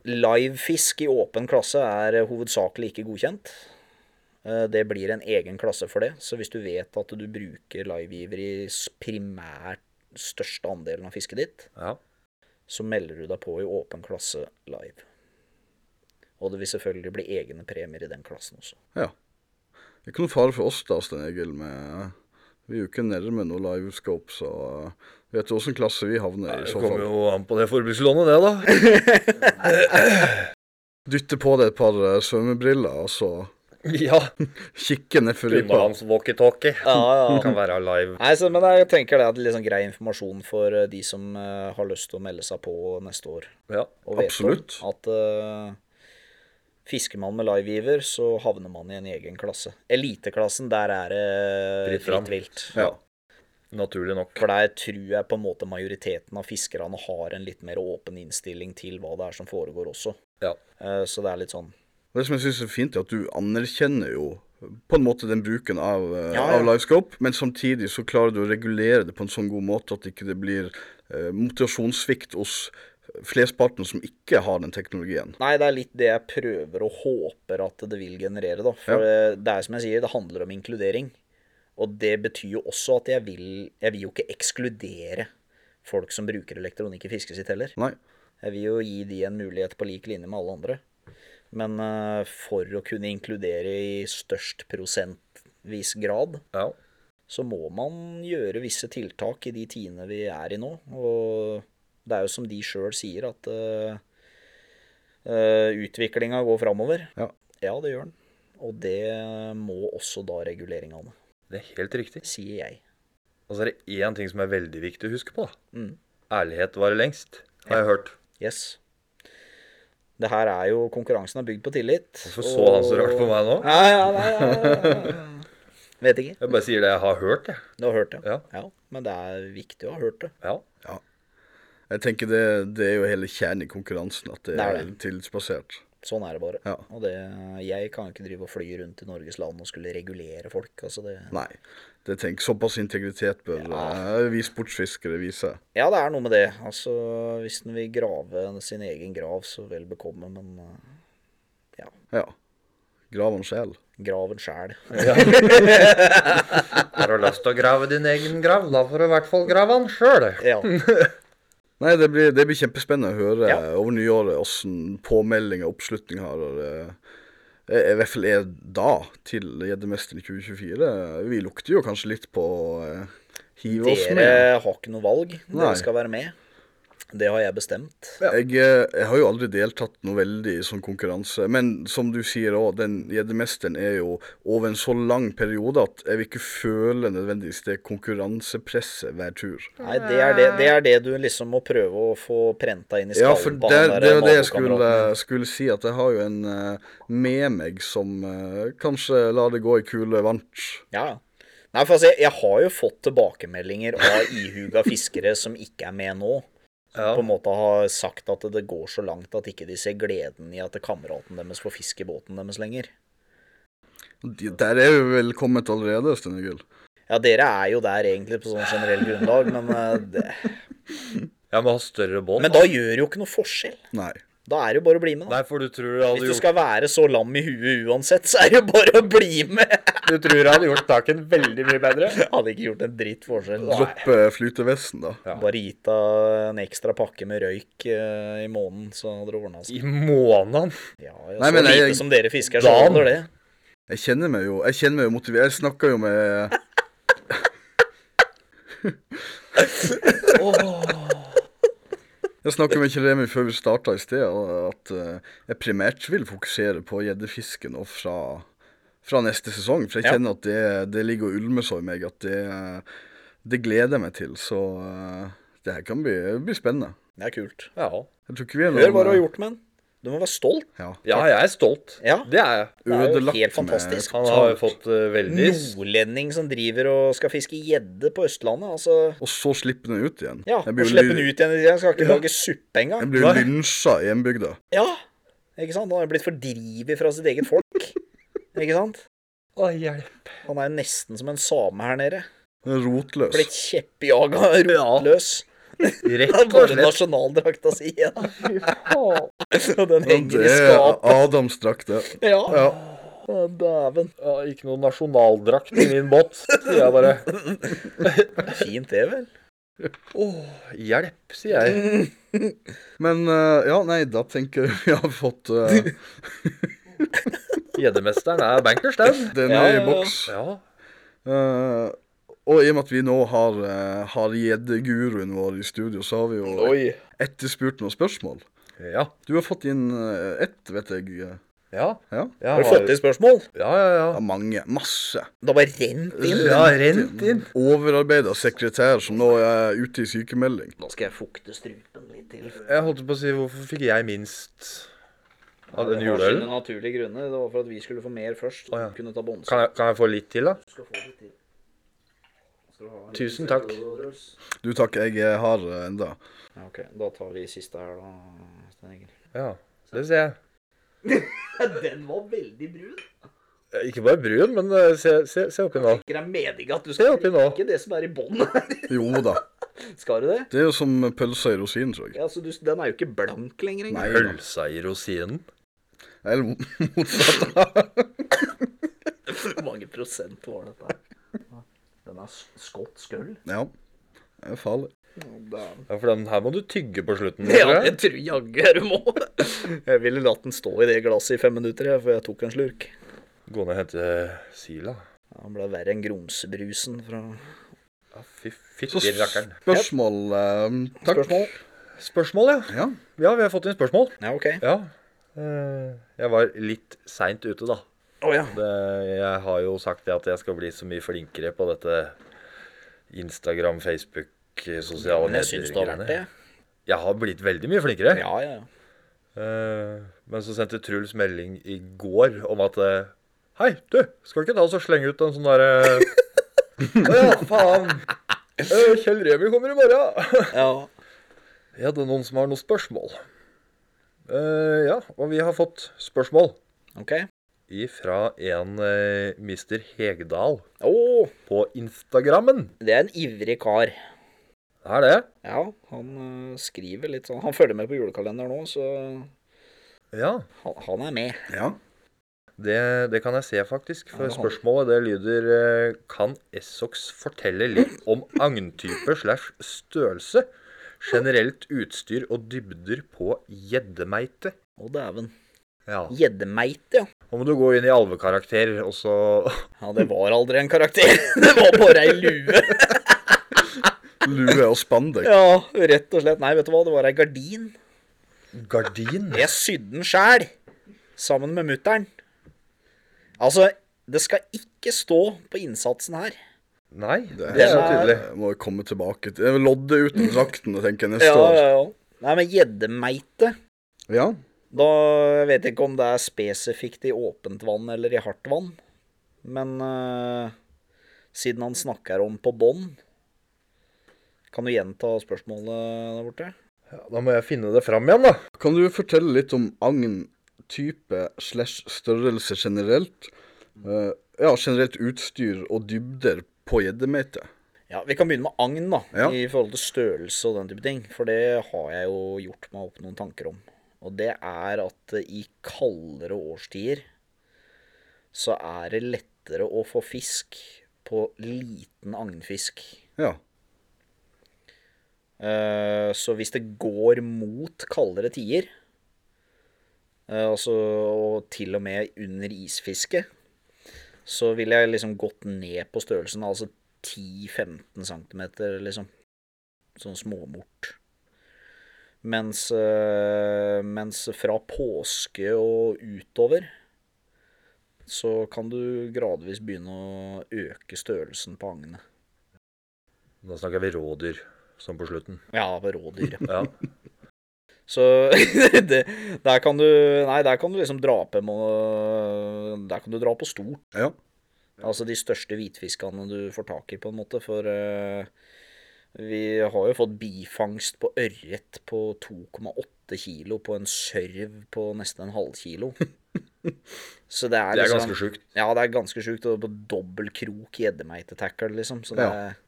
D: livefisk i åpen klasse er eh, hovedsakelig ikke godkjent. Eh, Det blir en egen klasse for det. Så hvis du vet at du bruker livegiver i s- primært største andelen av fisket ditt,
B: Ja.
D: så melder du deg på i åpen klasse live. Og det vil selvfølgelig bli egne premier i den klassen også.
C: Ja. Det er ikke noen fare for oss da, Stein Egil. Med, eh, vi er jo ikke nærme noe livescope, så eh, vi vet jo åssen klasse vi havner i
B: Det
C: så
B: kommer
C: fall.
B: jo an på det forbrukslånet, det, da.
C: Dytte på deg et par eh, svømmebriller, og så
B: [laughs] Ja.
C: kikke nedfor ripa.
B: Undervannswalkietalkie
D: [laughs] Ja,
B: [laughs] kan være live.
D: Nei, så, men jeg tenker det er litt sånn grei informasjon for eh, de som eh, har lyst til å melde seg på neste år.
B: Ja.
D: Og vet
C: Absolutt.
D: om at eh, fisker man med livegiver, så havner man i en egen klasse. Eliteklassen, der er det
B: Fritt fram.
D: fritt vilt.
C: Ja.
B: Naturlig nok.
D: For der tror jeg på en måte majoriteten av fiskerne har en litt mer åpen innstilling til hva det er som foregår også.
B: Ja.
D: Eh, Så det er litt sånn
C: Det som jeg syns er fint, er at du anerkjenner jo på en måte den bruken av, eh,
D: Ja, ja.
C: av livescope, men samtidig så klarer du å regulere det på en sånn god måte at ikke det blir eh, motivasjonssvikt hos flesparten som ikke har den teknologien.
D: Nei, det er litt det jeg prøver og håper at det vil generere, da. For eh, det er som jeg sier, det handler om inkludering. Og det betyr jo også at jeg vil, jeg vil jo ikke ekskludere folk som bruker elektronikk i fisket sitt heller.
C: Nei.
D: Jeg vil jo gi de en mulighet på lik linje med alle andre. Men eh, for å kunne inkludere i størst prosentvis grad,
B: Ja.
D: så må man gjøre visse tiltak i de tidene vi er i nå. Og det er jo som de sjøl sier, at uh, utviklinga går framover.
C: Ja.
D: ja, det gjør den. Og det må også da reguleringene,
B: Det er helt riktig.
D: sier jeg.
B: Og så er det én ting som er veldig viktig å huske på. da.
D: Mm.
B: Ærlighet varer lengst, har jeg hørt.
D: Yes. Det her er jo Konkurransen er bygd på tillit.
B: Hvorfor så han så rart på meg nå?
D: Ja, ja, nei, ja, ja, ja. [laughs] Vet ikke.
B: Jeg bare sier det jeg har hørt, jeg.
D: Du har hørt det?
B: Ja.
D: ja. Men det er viktig å ha hørt det.
B: Ja.
C: Jeg tenker det, det er jo hele kjernen i konkurransen, at det
D: Det er
C: er
D: det.
C: tillitsbasert.
D: Sånn er det bare.
C: Ja.
D: Og det, jeg kan jo ikke drive og fly rundt i Norges land og skulle regulere folk. Altså det,
C: Nei. Det tenk, Såpass integritet bør eh, vi sportsfiskere vise.
D: ja, det er noe med det. Altså, hvis den vil grave sin egen grav, så vel bekomme, men eh, ja,
C: Ja. Grav en sjel.
D: graven sjæl.
B: Har du lyst til å grave din egen grav, da får du i hvert fall grave den sjøl.
D: Ja.
C: Nei, det blir, det blir kjempespennende å høre
D: Ja.
C: over nyåret hvordan påmelding og oppslutning har. Og det, eh, I hvert fall er da til Gjeddemesteren 2024. Vi lukter jo kanskje litt på å eh, hive oss
D: Dere
C: med.
D: har ikke noe valg.
C: Nei.
D: Dere skal være med. Det har jeg bestemt.
C: Jeg, eh, jeg har jo aldri deltatt noe veldig i sånn konkurranse, men som du sier òg, den gjeddemesteren er jo over en så lang periode at jeg vil ikke føle nødvendigvis det konkurransepresset hver tur.
D: Nei, det er det, det er det du liksom må prøve å få prenta inn i
C: Ja,
D: skallen
C: for
D: på
C: det,
D: han der
C: det er jo det jeg
D: nabokameraten.
C: skulle, skulle si, at jeg har jo en eh, med meg som eh, kanskje lar det gå i kule vant.
D: Ja, ja. Nei, for altså, jeg, jeg har jo fått tilbakemeldinger av ihuga fiskere som ikke er med nå.
B: Ja.
D: På en måte har sagt at det går så langt at ikke de ser gleden i at kameraten deres får fiske i båten deres lenger.
C: De- Der er vi vel kommet allerede, Stine Gull.
D: Ja, dere er jo der egentlig på sånn generell grunnlag, men, eh, det,
B: Jeg må ha større båt.
D: men da gjør det jo ikke noe forskjell.
C: Nei.
D: Da er det jo bare å bli med, da.
B: Nei, for du tror jeg hadde
D: Hvis du
B: gjort,
D: skal være så lam i huet uansett, så er det jo bare å bli med. [laughs]
B: du tror jeg hadde gjort saken veldig mye bedre.
D: Jeg hadde ikke gjort en dritt forskjell.
C: Droppe flytevesten, da.
B: Ja.
D: Bare gitt deg en ekstra pakke med røyk eh, i måneden, så hadde det ordna seg.
B: I måneden.
D: Ja, ja,
C: Nei,
D: så
C: men
D: lite
C: jeg-
D: som dere fisker, så
B: Dan.
D: holder det.
C: Jeg kjenner meg jo Jeg kjenner meg jo motivert. Jeg snakker jo
D: [laughs]
C: med Jeg snakka med Kjell Remi før vi starta i sted, og at eh, jeg primært vil fokusere på gjeddefisken og fra, fra neste sesong. For jeg
D: Ja.
C: kjenner at det, det ligger og ulmer så i meg at det, det gleder jeg meg til. Så eh, det her kan bli, bli spennende.
D: Det er kult.
B: Ja.
C: Jeg tror ikke vi er
D: Hør hva du har gjort med den. Du må være stolt.
C: Ja.
B: ja, jeg er stolt.
D: Ja.
B: Det er jeg.
D: Det er jo
C: Ødelagt
D: helt
C: med-
D: fantastisk.
B: Han har jo fått eh, veldig
D: Nordlending som driver og skal fiske gjedde på Østlandet, altså.
C: Og så slippe den ut igjen.
D: Ja,
C: jeg
D: og
C: blir jo
D: slippe
C: ly-
D: den ut igjen. Jeg skal ikke lage suppe engang.
C: Jeg blir jo lynsja i hjembygda.
D: Ja, ikke sant? Han er blitt fordrivet fra sitt eget folk. [laughs] Ikke sant?
B: Å, hjelp.
D: Han er jo nesten som en same her nede.
C: Rotløs.
D: Blitt kjeppjaga rotløs.
C: [laughs]
B: Rett og
D: Bare
B: slett.
D: nasjonaldrakta si igjen. [laughs] Og den
C: Ja, Det
D: henger i
C: er
D: skapet.
C: Adams drakt, det.
D: Ja,
C: Ja.
D: Å, dæven.
B: Ja, ikke noe nasjonaldrakt i min båt. Sier jeg bare.
D: Fint det, vel?
B: Å, hjelp, sier jeg.
C: Men eh, ja, nei, da tenker jeg [laughs] vi har fått eh,
B: Gjeddemesteren er bankers, den.
C: den
D: [laughs] Ja,
C: er i
D: ja, ja.
C: boks.
B: Ja.
C: Eh, og i og med at vi nå har, eh, har gjeddeguruen vår i studio, så har vi jo
B: Oi.
C: etterspurt noen spørsmål.
B: Ja.
C: Du har fått inn eh, ett, vet jeg. eh,
B: Ja.
C: Ja.
B: Jeg
D: Har du fått inn spørsmål?
B: Ja, ja, ja.
C: ja, mange. Masse.
D: Det har bare rent inn.
B: Ja, rent inn.
C: Overarbeida sekretær som nå er ute i sykemelding.
D: Nå skal jeg fukte strupen litt til.
B: Jeg holdt på å si hvorfor fikk jeg minst av den juleølen?
D: naturlige grunner. Det var for at vi skulle få mer først.
B: Å, ja.
D: Kunne ta båndsøl.
B: Kan, jeg- kan jeg få litt til, da? Tusen takk.
C: Du takk, jeg eh, har eh, enda.
D: Ja, ok, da tar vi siste her, da.
B: Ja, det ser jeg.
D: Den var veldig brun.
B: Eh, Ikke bare brun, men eh, se, se, se oppi nå.
D: Det er meninga at du
B: Se oppi nå.
D: drikke det som er i bånn. [laughs]
C: Jo da.
D: Skal du det?
C: Det er jo som pølser i rosinen, tror jeg.
D: Ja, så du, Den er jo ikke blank lenger engang.
C: Nei, da.
B: Pølsa i rosinen.
C: Eller mot- motsatt.
D: [laughs] Hvor mange prosent var dette? her? Den er s- skotsk øl.
C: Ja. Det er farlig.
B: Ja, for den her må du tygge på slutten.
D: Ja,
B: tror
D: det
B: jeg.
D: tror jaggu jeg du må. [laughs] Jeg ville latt den stå i det glasset i fem minutter, jeg, for jeg tok en slurk.
B: Gå ned og hente eh, Sila.
D: Ja, Den ble verre enn grumsebrusen fra
B: Ja, fy
C: Så
B: fytti rakkeren.
C: spørsmål eh, Takk.
D: Spørsmål?
B: Spørsmål, ja.
C: Ja.
B: Ja, vi har fått inn spørsmål.
D: Ja, OK.
B: Ja. Eh, Jeg var litt seint ute, da.
D: Å ja.
B: Det, jeg har jo sagt det at jeg skal bli så mye flinkere på dette Instagram, Facebook, eh, sosiale
D: Men jeg syns du har vært det.
B: medier-greiene. Jeg har blitt veldig mye flinkere.
D: Ja, ja. ja.
B: Eh, men så sendte Truls melding i går om at eh, Hei, du, skal du ikke ta oss og slenge ut en sånn derre [laughs] Å ja, faen. Eh, Kjell Remi kommer i morgen. [laughs]
D: Ja.
B: ja, det er noen som har noen spørsmål. Eh, ja, og vi har fått spørsmål
D: OK.
B: ifra en eh, Mr. Hegdal
D: Å,
B: på Instagrammen.
D: det er en ivrig kar.
B: Det er det.
D: Ja, han øh, skriver litt sånn. Han følger med på julekalenderen nå, så
B: Ja.
D: han, han er med.
C: Ja.
B: Det, det kan jeg se, faktisk. For
D: Ja, det holder.
B: spørsmålet det lyder eh, Kan Essox fortelle litt om agntype slash størrelse? Generelt utstyr og dybder på gjeddemeite.
D: Å, dæven.
B: Ja.
D: Gjeddemeit, ja.
B: Nå må du gå inn i alvekarakter, og så
D: [laughs] Ja, det var aldri en karakter. [laughs] Det var bare ei lue.
C: Lue og spandek.
D: [laughs] Ja, rett og slett. Nei, vet du hva, det var ei gardin.
B: Gardin?
D: Jeg sydde den sjæl, sammen med mutter'n. Altså, det skal ikke stå på innsatsen her.
B: Nei, det
C: Det
B: er så
D: er-
B: tydelig.
C: Jeg må jo komme tilbake til jeg vil Lodde uten drakten, tenker jeg neste
D: Ja,
C: år.
D: ja, ja. Nei, men gjeddemeite
C: Ja.
D: Da jeg vet jeg ikke om det er spesifikt i åpent vann eller i hardt vann. Men eh, siden han snakker om på bånn Kan du gjenta spørsmålet der borte?
B: Ja, da må jeg finne det fram igjen, da.
C: Kan du fortelle litt om agn-type slash størrelse generelt? Eh, ja, generelt utstyr og dybder på gjeddemeite.
D: Ja, Vi kan begynne med agn, da,
C: Ja.
D: i forhold til størrelse og den type ting. For det har jeg jo gjort meg opp noen tanker om. Og det er at i kaldere årstider så er det lettere å få fisk på liten agnfisk.
C: Ja.
D: Eh, Så hvis det går mot kaldere tider, eh, altså, og til og med under isfiske, så ville jeg liksom gått ned på størrelsen, altså 10-15 cm, liksom. Sånn småmort. Mens, eh, mens fra påske og utover, så kan du gradvis begynne å øke størrelsen på agnet.
B: Da snakker vi rådyr, som på slutten.
D: Ja, på rådyr. [laughs]
B: Ja.
D: Så [laughs] det, der kan du Nei, der kan du liksom dra på må- Der kan du dra på stort.
C: Ja.
D: Altså de største hvitfiskene du får tak i, på en måte. For eh, vi har jo fått bifangst på ørret på 2,8 kilo på en sørv på nesten en halvkilo. [laughs] Så det er,
B: Det er
D: liksom-
B: ganske sjukt.
D: Ja, det er ganske sjukt. Og på dobbel krok gjeddemeitetackle, liksom. Så det
C: Ja.
D: er-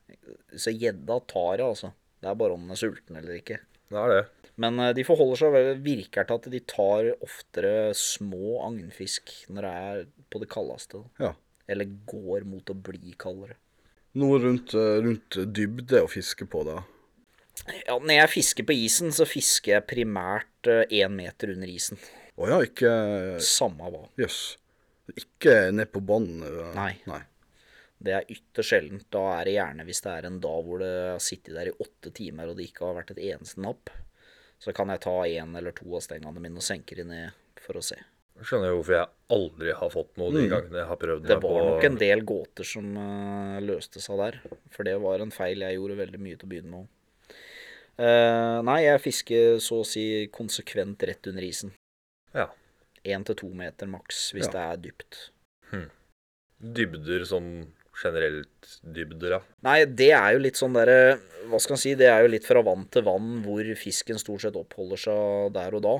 D: så gjedda tar det, altså. Det er bare om den er sulten eller ikke.
B: Det er det.
D: Men eh, de forholder seg vel, virker til at de tar oftere små agnfisk når det er på det kaldeste. da.
C: ja.
D: Eller går mot å bli kaldere.
C: Noe rundt, eh, rundt dybde å fiske på, da.
D: Ja, når jeg fisker på isen, så fisker jeg primært én meter under isen.
C: Å ja, ikke
D: Samme hva.
C: Jøss. Ikke ned på bånn? eh,
D: Nei.
C: Nei.
D: Det er ytterst sjeldent. Da er det gjerne hvis det er en dag hvor det har sittet der i åtte timer og det ikke har vært et eneste napp, så kan jeg ta én eller to av stengene mine og senke de ned for å se.
B: Skjønner jo hvorfor jeg aldri har fått noe de gangene jeg har prøvd
D: Mm. Det
B: meg
D: var
B: på-
D: nok en del gåter som eh, løste seg der. For det var en feil jeg gjorde veldig mye til å begynne med. Eh, nei, jeg fisker så å si konsekvent rett under isen.
B: Ja.
D: Én til to meter maks,
C: Ja.
D: hvis det er dypt.
B: Dybder sånn generelt dybder, ja.
D: Nei, det er jo litt sånn derre Hva skal en si? Det er jo litt fra vann til vann hvor fisken stort sett oppholder seg der og da.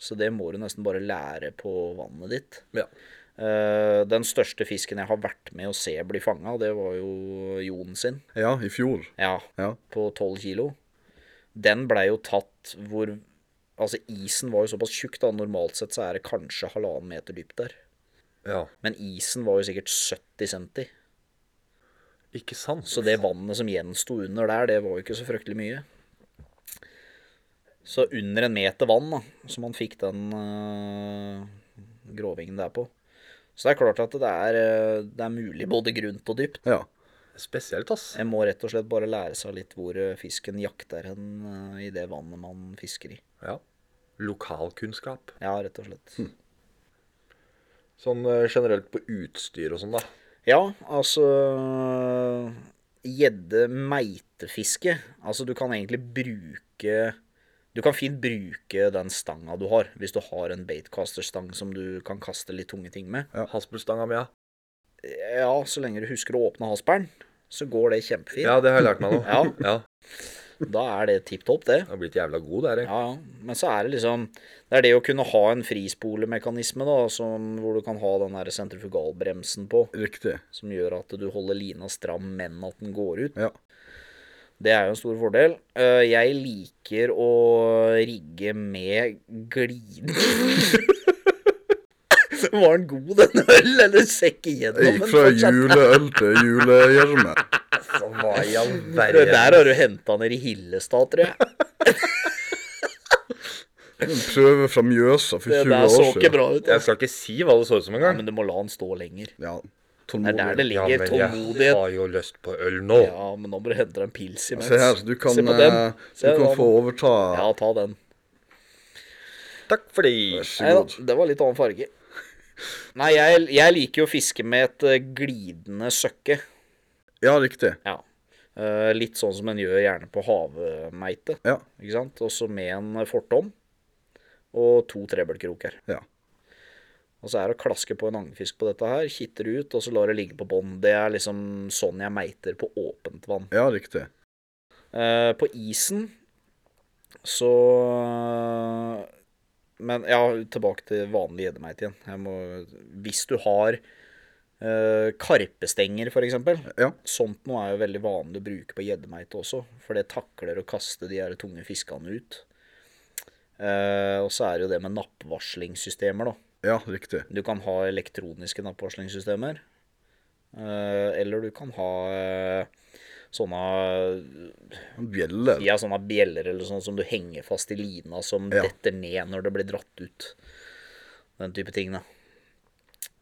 D: Så det må du nesten bare lære på vannet ditt.
B: Ja.
D: Eh, den største fisken jeg har vært med å se bli fanga, det var jo Jon sin.
C: Ja, i fjor.
D: Ja,
C: Ja.
D: på 12 kilo. Den blei jo tatt hvor Altså, isen var jo såpass tjukk, da. Normalt sett så er det kanskje halvannen meter dypt der.
B: ja.
D: Men isen var jo sikkert 70 centi.
B: Ikke sant?
D: Så det vannet som gjensto under der, det var jo ikke så fryktelig mye. Så under en meter vann, da, som han fikk den øh, gråvingen der på. Så det er klart at det er, øh, det er mulig både grunt og dypt.
C: Ja.
B: Spesielt, ass.
D: En må rett og slett bare lære seg litt hvor eh, fisken jakter hen eh, i det vannet man fisker i.
B: Ja. Lokalkunnskap.
D: Ja, rett og slett.
B: Sånn eh, generelt på utstyr og sånn, da.
D: Ja, altså Altså, Gjedde-meitefiske. Altså, du kan egentlig bruke Du kan fint bruke den stanga du har, hvis du har en baitcasterstang som du kan kaste litt tunge ting med.
B: Haspelstanga mi, ja.
D: Ja, så lenge du husker å åpne haspelen, så går det kjempefint.
B: Ja, det har jeg lært meg nå.
D: [laughs] Ja.
B: ja.
D: Da er det tipp topp, det.
B: Jeg har blitt jævla god der, jeg.
D: Ja, ja. Men så er det liksom Det er det å kunne ha en frispolemekanisme, da, som, hvor du kan ha den der sentrifugalbremsen på,
C: Riktig.
D: som gjør at du holder lina stram, men at den går ut.
C: Ja.
D: Det er jo en stor fordel. Eh, Jeg liker å rigge med glidning. [laughs] Var den god, den øl, eller ser ikke
C: Jeg
D: gjennom
C: gikk
D: den?
C: fra
D: fortsatt?
C: juleøl til julegjerme.
B: Så hva i all
D: Det der
B: verden?
D: har du henta ned i Hillestad,
C: [laughs]
D: tror jeg.
C: En Prøve fra Mjøsa for
D: Det
C: 20
D: der så
C: år
D: ikke
C: siden.
D: bra ut.
B: Jeg
D: Altså.
B: skal ikke si hva det så ut som
D: Ja,
B: engang.
D: men du må la den stå lenger.
C: Ja,
D: Det er der det
C: tålmodighet.
B: Ja,
D: ligger.
B: men jeg
D: Tålmodighet.
B: har jo lyst på øl nå.
D: Ja, men nå må du hente deg en pils imens.
C: Se her, du kan,
D: Se på den.
C: eh,
D: Se
C: du kan
D: den.
C: få overta. eh,
D: Ja, ta den.
B: Takk for det.
C: Vær
D: Nei
C: så
D: da,
C: god.
D: det var litt annen farge. Nei, jeg, jeg liker jo å fiske med et eh, glidende søkke.
C: Ja, riktig.
D: Ja. Eh, litt sånn som en gjør gjerne på havmeite.
C: Ja.
D: Ikke sant? Også med en eh, fortom og to trebbelkroker.
C: Ja.
D: Og så er det å klaske på en agnfisk på dette her, kitter ut, og så lar det ligge på bånn. Det er liksom sånn jeg meiter på åpent vann.
C: ja, riktig.
D: Eh, på isen så Men ja, tilbake til vanlig gjeddemeit igjen. Jeg må, hvis du har eh, karpestenger, for eksempel.
C: Ja.
D: Sånt noe er jo veldig vanlig å bruke på gjeddemeite også, for det takler å kaste de her tunge fiskene ut. Eh, og så er det jo det med nappvarslingssystemer, da.
C: Ja, riktig.
D: Du kan ha elektroniske nappvarslingssystemer. eh, eller du kan ha eh, sånne
C: Bjeller.
D: ja, sånne bjeller eller sånn som du henger fast i lina som
C: Ja.
D: detter ned når det blir dratt ut. Den type ting, da.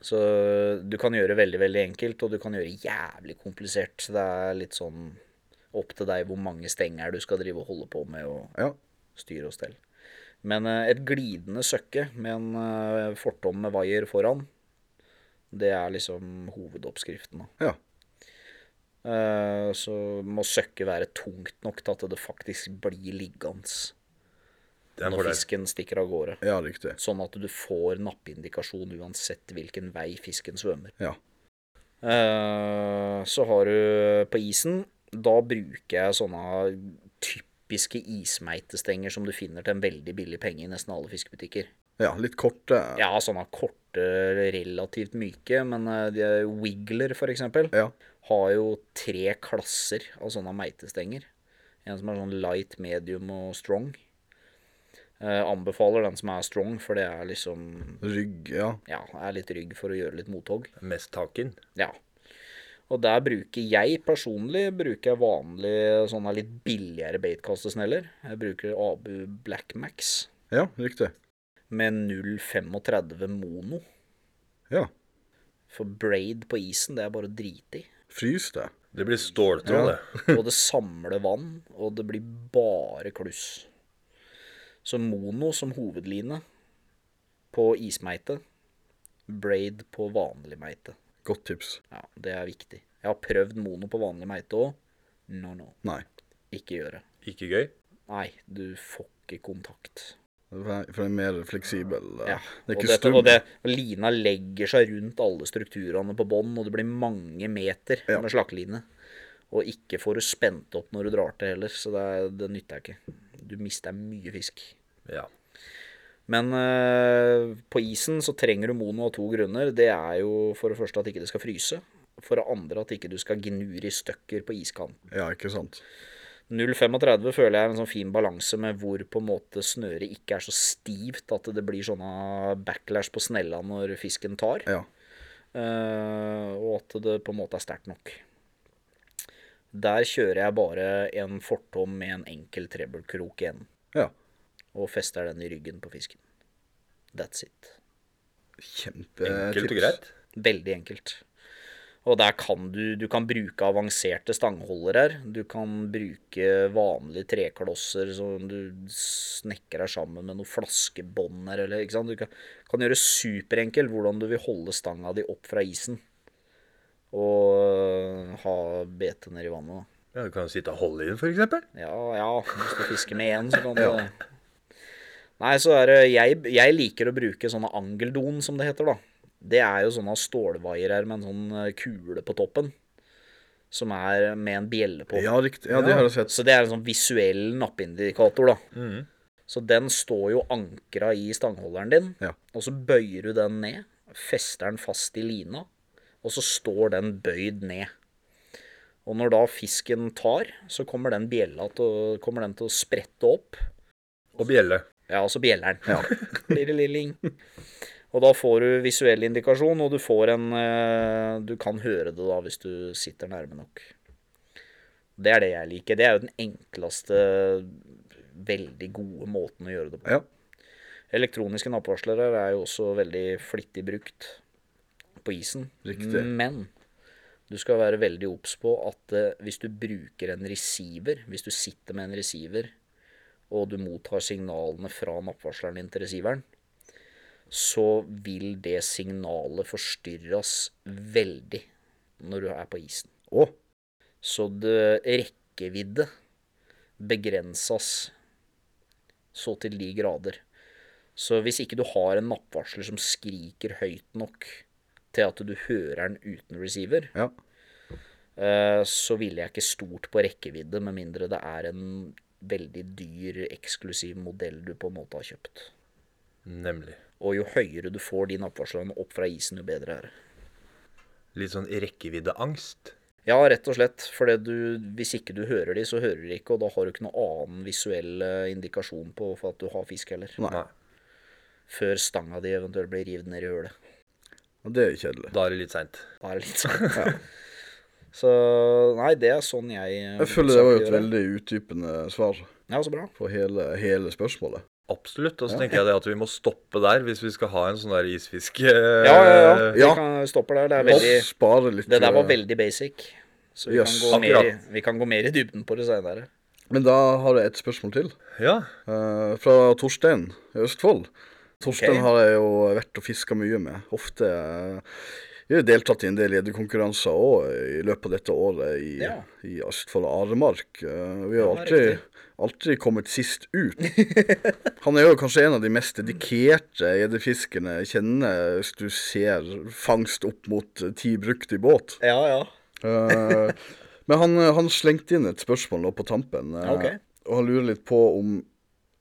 D: Så du kan gjøre veldig, veldig enkelt, og du kan gjøre jævlig komplisert. Det er litt sånn opp til deg hvor mange stenger du skal drive og holde på med og
C: Ja.
D: styre og stelle. Men eh, et glidende søkke med en eh, fortom med vaier foran, det er liksom hovedoppskriften, da.
C: Ja.
D: Eh, Så må søkket være tungt nok til at det faktisk blir liggende
B: Det er en
D: når
B: fordel.
D: fisken stikker av gårde.
C: ja, riktig.
D: Sånn at du får nappeindikasjon uansett hvilken vei fisken svømmer.
C: Ja.
D: Eh, Så har du på isen Da bruker jeg sånne typiske ismeitestenger som du finner til en veldig billig penge i nesten alle fiskebutikker.
C: Ja, litt korte.
D: Ja, sånne korte, relativt myke, men eh, de er Wiggler, for eksempel
C: Ja.
D: har jo tre klasser av sånne meitestenger. En som er sånn light, medium og strong. Eh, anbefaler den som er strong, for det er liksom
C: Rygg, ja.
D: Ja, er litt rygg for å gjøre litt mothogg.
B: Mest taken.
D: Ja. Og der bruker jeg personlig bruker jeg vanlig sånne litt billigere baitkastesneller. Jeg bruker Abu Black Max
C: Ja, riktig.
D: med 0,35 mono.
C: Ja.
D: For braid på isen, det er bare å drite i.
C: Frys det.
B: Det blir ståltråd, det.
D: og det samler vann, og det blir bare kluss. Så mono som hovedline på ismeite, braid på vanlig meite.
C: Godt tips.
D: Ja, det er viktig. Jeg har prøvd mono på vanlig meite òg. No, no.
C: Nei.
D: Ikke gjøre.
B: Ikke gøy.
D: Nei, du får ikke kontakt.
C: For en mer fleksibel eh,
D: Ja,
C: Det er
D: og,
C: ikke
D: dette, og
C: stumt.
D: det, og lina legger seg rundt alle strukturene på bånn, og det blir mange meter
C: Ja.
D: med slakkeline. Og ikke får du spent opp når du drar til heller, så det, er- det nytter jeg ikke. Du mister mye fisk.
B: Ja.
D: Men eh, på isen så trenger du mono av to grunner. Det er jo for det første at ikke det skal fryse. For det andre at ikke du skal gnure i stykker på iskanten.
C: Ja, ikke sant.
D: 0,35 føler jeg er en sånn fin balanse med hvor på en måte snøret ikke er så stivt at det blir sånne backlash på snella når fisken tar.
C: Ja.
D: Eh, og at det på en måte er sterkt nok. Der kjører jeg bare en fortom med en enkel trebbelkrok igjen,
C: Ja.
D: og fester den i ryggen på fisken. That's it. Eh,
C: Kjempetips.
B: Enkelt og greit.
D: Veldig enkelt. Og der kan du, du kan bruke avanserte stangholdere. her. Du kan bruke vanlige treklosser som du snekrer deg sammen med noen flaskebånd her, eller ikke sant. Du kan, kan gjøre superenkelt hvordan du vil holde stanga di opp fra isen. Og øh, ha betet nedi vannet. da.
B: Ja, du kan jo sitte og holde i den, for eksempel.
D: Ja, ja, hvis du fisker med én, så kan du det. Nei, så er det jeg, jeg liker å bruke sånne angeldon, som det heter, da. Det er jo sånne stålvaiere med en sånn eh, kule på toppen. Som er med en bjelle på.
C: Ja, riktig. Ja, det har jeg sett. Mm.
D: Så det er en sånn visuell nappindikator, da. Så den står jo ankra i stangholderen din,
C: Ja.
D: og så bøyer du den ned, fester den fast i lina, og så står den bøyd ned. Og når da fisken tar, så kommer den bjella til å, kommer den til å sprette opp.
B: Og bjelle.
D: Ja, altså bjelleren. [laughs] Lirelilling. Og da får du visuell indikasjon, og du får en eh, Du kan høre det da hvis du sitter nærme nok. Det er det jeg liker. Det er jo den enkleste, veldig gode måten å gjøre det på.
C: Ja.
D: Elektroniske nappvarslere er jo også veldig flittig brukt på isen.
C: Riktig.
D: Men du skal være veldig obs på at eh, hvis du bruker en receiver, hvis du sitter med en receiver, og du mottar signalene fra nappvarsleren din til receiveren, så vil det signalet forstyrres veldig når du er på isen.
C: Å,
D: Så det rekkevidde begrenses så til de grader. Så hvis ikke du har en nappvarsler som skriker høyt nok til at du hører den uten receiver,
C: ja.
D: eh, så ville jeg ikke stort på rekkevidde, med mindre det er en veldig dyr, eksklusiv modell du på en måte har kjøpt.
B: Nemlig.
D: Og jo høyere du får de nappvarslerne opp fra isen, jo bedre er det.
B: Litt sånn rekkeviddeangst.
D: Ja, rett og slett. For du, hvis ikke du hører de, så hører de ikke, og da har du ikke noen annen visuell eh, indikasjon på for at du har fisk heller.
C: Nei.
B: Nei.
D: Før stanga di eventuelt blir revet ned i hølet.
C: Ja, Det er kjedelig.
B: Da er det litt seint.
D: Da er det litt sånn. [laughs] Så nei, det er sånn jeg eh,
C: Jeg føler det var jo et
D: gjør
C: veldig utdypende svar
D: Ja, så bra.
C: på hele, hele spørsmålet.
B: Absolutt. Og så tenker jeg det at vi må stoppe der hvis vi skal ha en sånn der isfiske...
D: Ja, ja, ja. Vi
C: Eh, Ja.
D: kan stoppe der. Det er
C: Og
D: veldig
C: spare litt
D: Det der var
C: eh,
D: veldig basic. Så vi,
C: Yes.
D: kan, gå mer,
B: Akkurat.
D: i- vi kan gå mer i dybden på det seinere.
C: Men da har jeg et spørsmål til.
B: ja.
C: Eh, fra Torstein i Østfold. Torstein
D: Ok.
C: har jeg jo vært og fiska mye med. Ofte eh, Jeg har deltatt i en del gjeddekonkurranser òg i løpet av dette året i,
D: Ja.
C: i Østfold og Aremark. Eh, vi har
D: Ja,
C: alltid,
D: riktig.
C: alltid kommet sist ut. [laughs] Han er jo kanskje en av de mest dedikerte gjeddefiskerne jeg kjenner, hvis du ser fangst opp mot eh, ti brukt i båt.
D: Ja, ja.
C: Eh, [laughs] Men han, eh, han slengte inn et spørsmål nå på tampen, eh,
D: Ok.
C: og han lurer litt på om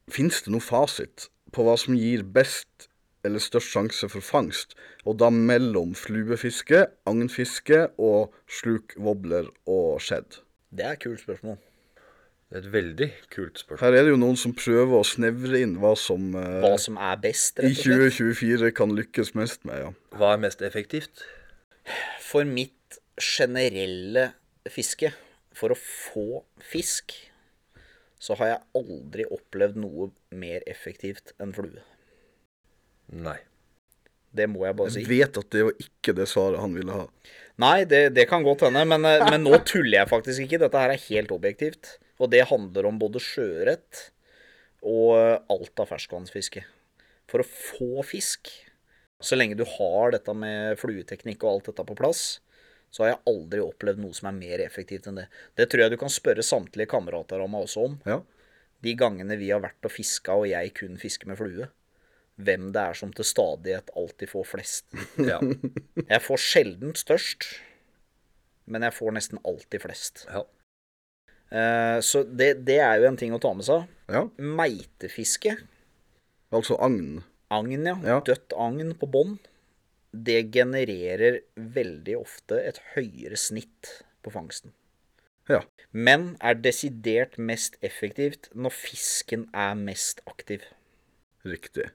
C: Fins det noe fasit på hva som gir best eller størst sjanse for fangst, og da mellom fluefiske, agnfiske og sluk, wobbler og skjedd?
D: Det er et kult spørsmål.
B: Det er et veldig kult spørsmål.
C: Her er det jo noen som prøver å snevre inn hva som eh,
D: Hva som er best,
C: i
D: rett og slett.
C: 2024 kan lykkes mest med, ja.
B: Hva er mest effektivt?
D: For mitt generelle fiske, for å få fisk, så har jeg aldri opplevd noe mer effektivt enn flue.
B: Nei.
D: Det må jeg bare si.
C: Jeg vet at det var ikke det svaret han ville ha.
D: Nei, det, det kan godt hende, men, eh, men nå tuller jeg faktisk ikke. Dette her er helt objektivt. Og det handler om både sjøørret og eh, alt av ferskvannsfiske. For å få fisk, så lenge du har dette med flueteknikk og alt dette på plass, så har jeg aldri opplevd noe som er mer effektivt enn det. Det tror jeg du kan spørre samtlige kamerater av meg også om.
C: Ja.
D: De gangene vi har vært og fiska, og jeg kun fisker med flue. Hvem det er som til stadighet alltid får flest.
B: Ja.
D: Jeg får sjelden størst, men jeg får nesten alltid flest.
B: ja.
D: Eh, så det, det er jo en ting å ta med seg.
C: ja.
D: Meitefiske,
C: Altså agn.
D: agn, ja,
C: Ja.
D: dødt agn på bånn, det genererer veldig ofte et høyere snitt på fangsten.
C: Ja.
D: Men er desidert mest effektivt når fisken er mest aktiv.
C: Riktig.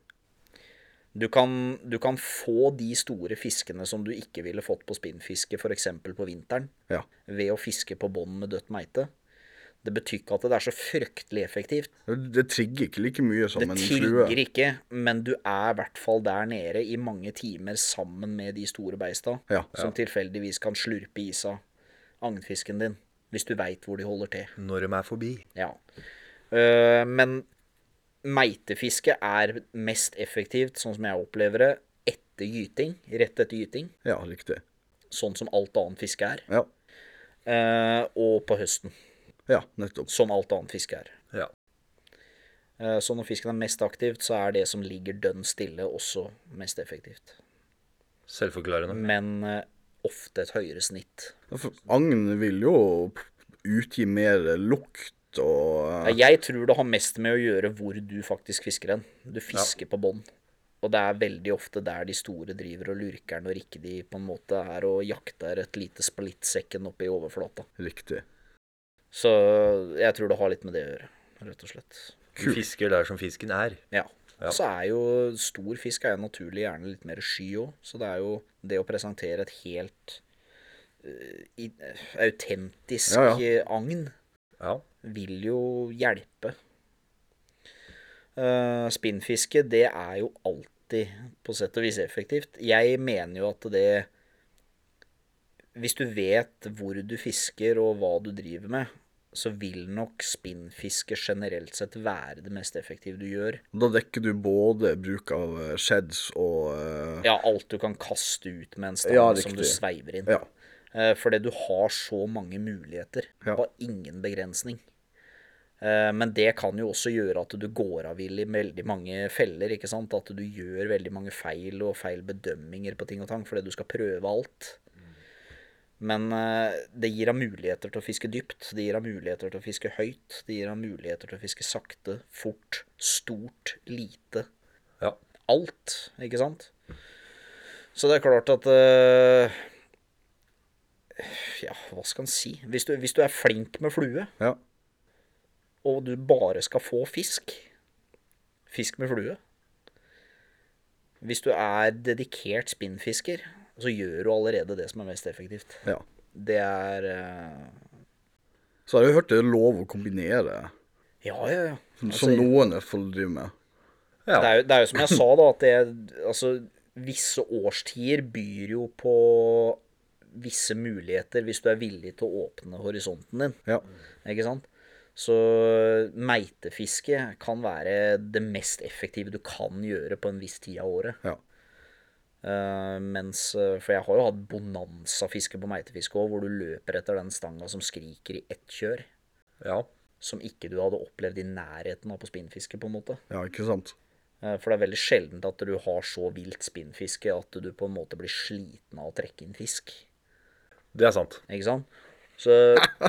D: Du kan, du kan få de store fiskene som du ikke ville fått på spinnfiske, f.eks. på vinteren.
C: Ja.
D: ved å fiske på bånd med dødt meite. Det betyr ikke at det er så fryktelig effektivt.
C: Det trigger ikke like mye som
D: Det
C: en flue.
D: trigger ikke, men du er i hvert fall der nede i mange timer sammen med de store beista,
C: Ja.
D: som tilfeldigvis kan slurpe i seg agnfisken din, hvis du veit hvor de holder til.
B: Når de er forbi.
D: Ja. Eh, men meitefiske er mest effektivt, sånn som jeg opplever det, etter gyting. Rett etter gyting.
C: Ja, riktig.
D: Sånn som alt annet fiske er.
C: Ja.
D: Eh, og på høsten,
C: ja, nettopp.
D: som alt annet fiske er.
B: Ja.
D: Eh, Så når fisken er mest aktivt, så er det som ligger dønn stille, også mest effektivt.
B: Selvforklarende.
D: Men eh, ofte et høyere snitt.
C: Ja, for Agn vil jo utgi mer lukt og eh,
D: Ja, Jeg tror det har mest med å gjøre hvor du faktisk fisker hen. Du fisker på bånn. Og det er veldig ofte der de store driver og lurker når ikke de på en måte er og jakter et lite splittsekken oppe i overflata.
C: eh, riktig.
D: Så eh, jeg tror det har litt med det å gjøre, rett og slett.
B: Du fisker der som fisken er.
D: Ja.
B: Ja.
D: Så er jo stor fisk er jo naturlig gjerne litt mer sky òg, så det er jo det å presentere et helt eh, i- eh, autentisk
C: Ja, ja.
D: eh, agn
B: Ja.
D: vil jo hjelpe. Eh, spinnfiske, det er jo alltid på sett og vis effektivt. Jeg mener jo at det Hvis du vet hvor du fisker og hva du driver med, så vil nok spinnfiske generelt sett være det mest effektive du gjør.
C: Da dekker du både bruk av eh, sheds og eh,
D: Ja, alt du kan kaste ut med en stang
C: Ja,
D: som du
C: riktig.
D: sveiver inn.
C: Ja.
D: Eh, Fordi du har så mange muligheter.
C: Ja.
D: På ingen begrensning. Eh, Men det kan jo også gjøre at du går av vill i veldig mange feller. ikke sant? At du gjør veldig mange feil og feil bedømminger på ting og tang fordi du skal prøve alt. Men eh, det gir deg muligheter til å fiske dypt, det gir deg muligheter til å fiske høyt, det gir deg muligheter til å fiske sakte, fort, stort, lite
B: ja.
D: alt, ikke sant? Så det er klart at eh, Ja, hva skal en si? Hvis du, hvis du er flink med flue,
C: ja.
D: og du bare skal få fisk Fisk med flue. Hvis du er dedikert spinnfisker, så gjør du allerede det som er mest effektivt.
C: ja.
D: Det er eh,
C: Så har jeg hørt det er lov å kombinere,
D: Ja, ja, ja. Altså,
C: som noen i hvert fall driver med.
D: Det er, jo, det er jo som jeg sa, da, at det, altså, visse årstider byr jo på visse muligheter hvis du er villig til å åpne horisonten din.
C: Ja.
D: Ikke sant? Så meitefiske kan være det mest effektive du kan gjøre på en viss tid av året.
C: ja.
D: Eh, mens, eh, for jeg har jo hatt bonanza-fiske på meitefiske òg, hvor du løper etter den stanga som skriker i ett kjør.
B: ja.
D: Som ikke du hadde opplevd i nærheten av på spinnfiske, på en måte.
C: ja, ikke sant?
D: Eh, For det er veldig sjeldent at du har så vilt spinnfiske at du på en måte blir sliten av å trekke inn fisk.
B: Det er sant.
D: Ikke sant? Så,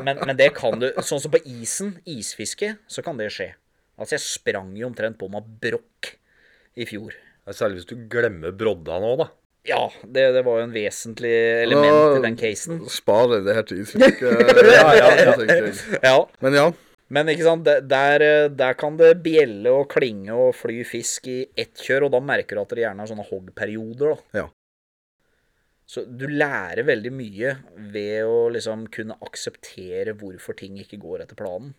D: men, men det kan du Sånn som på isen, isfiske, så kan det skje. Altså, jeg sprang jo omtrent på meg brokk i fjor.
B: Ja, Særlig hvis du glemmer brodda nå, da.
D: Ja, det, det var jo en vesentlig element i den casen.
C: Sparer det her til
D: [laughs]
C: isfiske. ja, ja, ja, tenker jeg.
D: Mm. Ja,
C: Men ja.
D: Men ikke sant, der- der, eh, der kan det bjelle og klinge og fly fisk i ett kjør, og da merker du at det gjerne er sånne hoggperioder, da.
C: Ja.
D: Så du lærer veldig mye ved å liksom kunne akseptere hvorfor ting ikke går etter planen.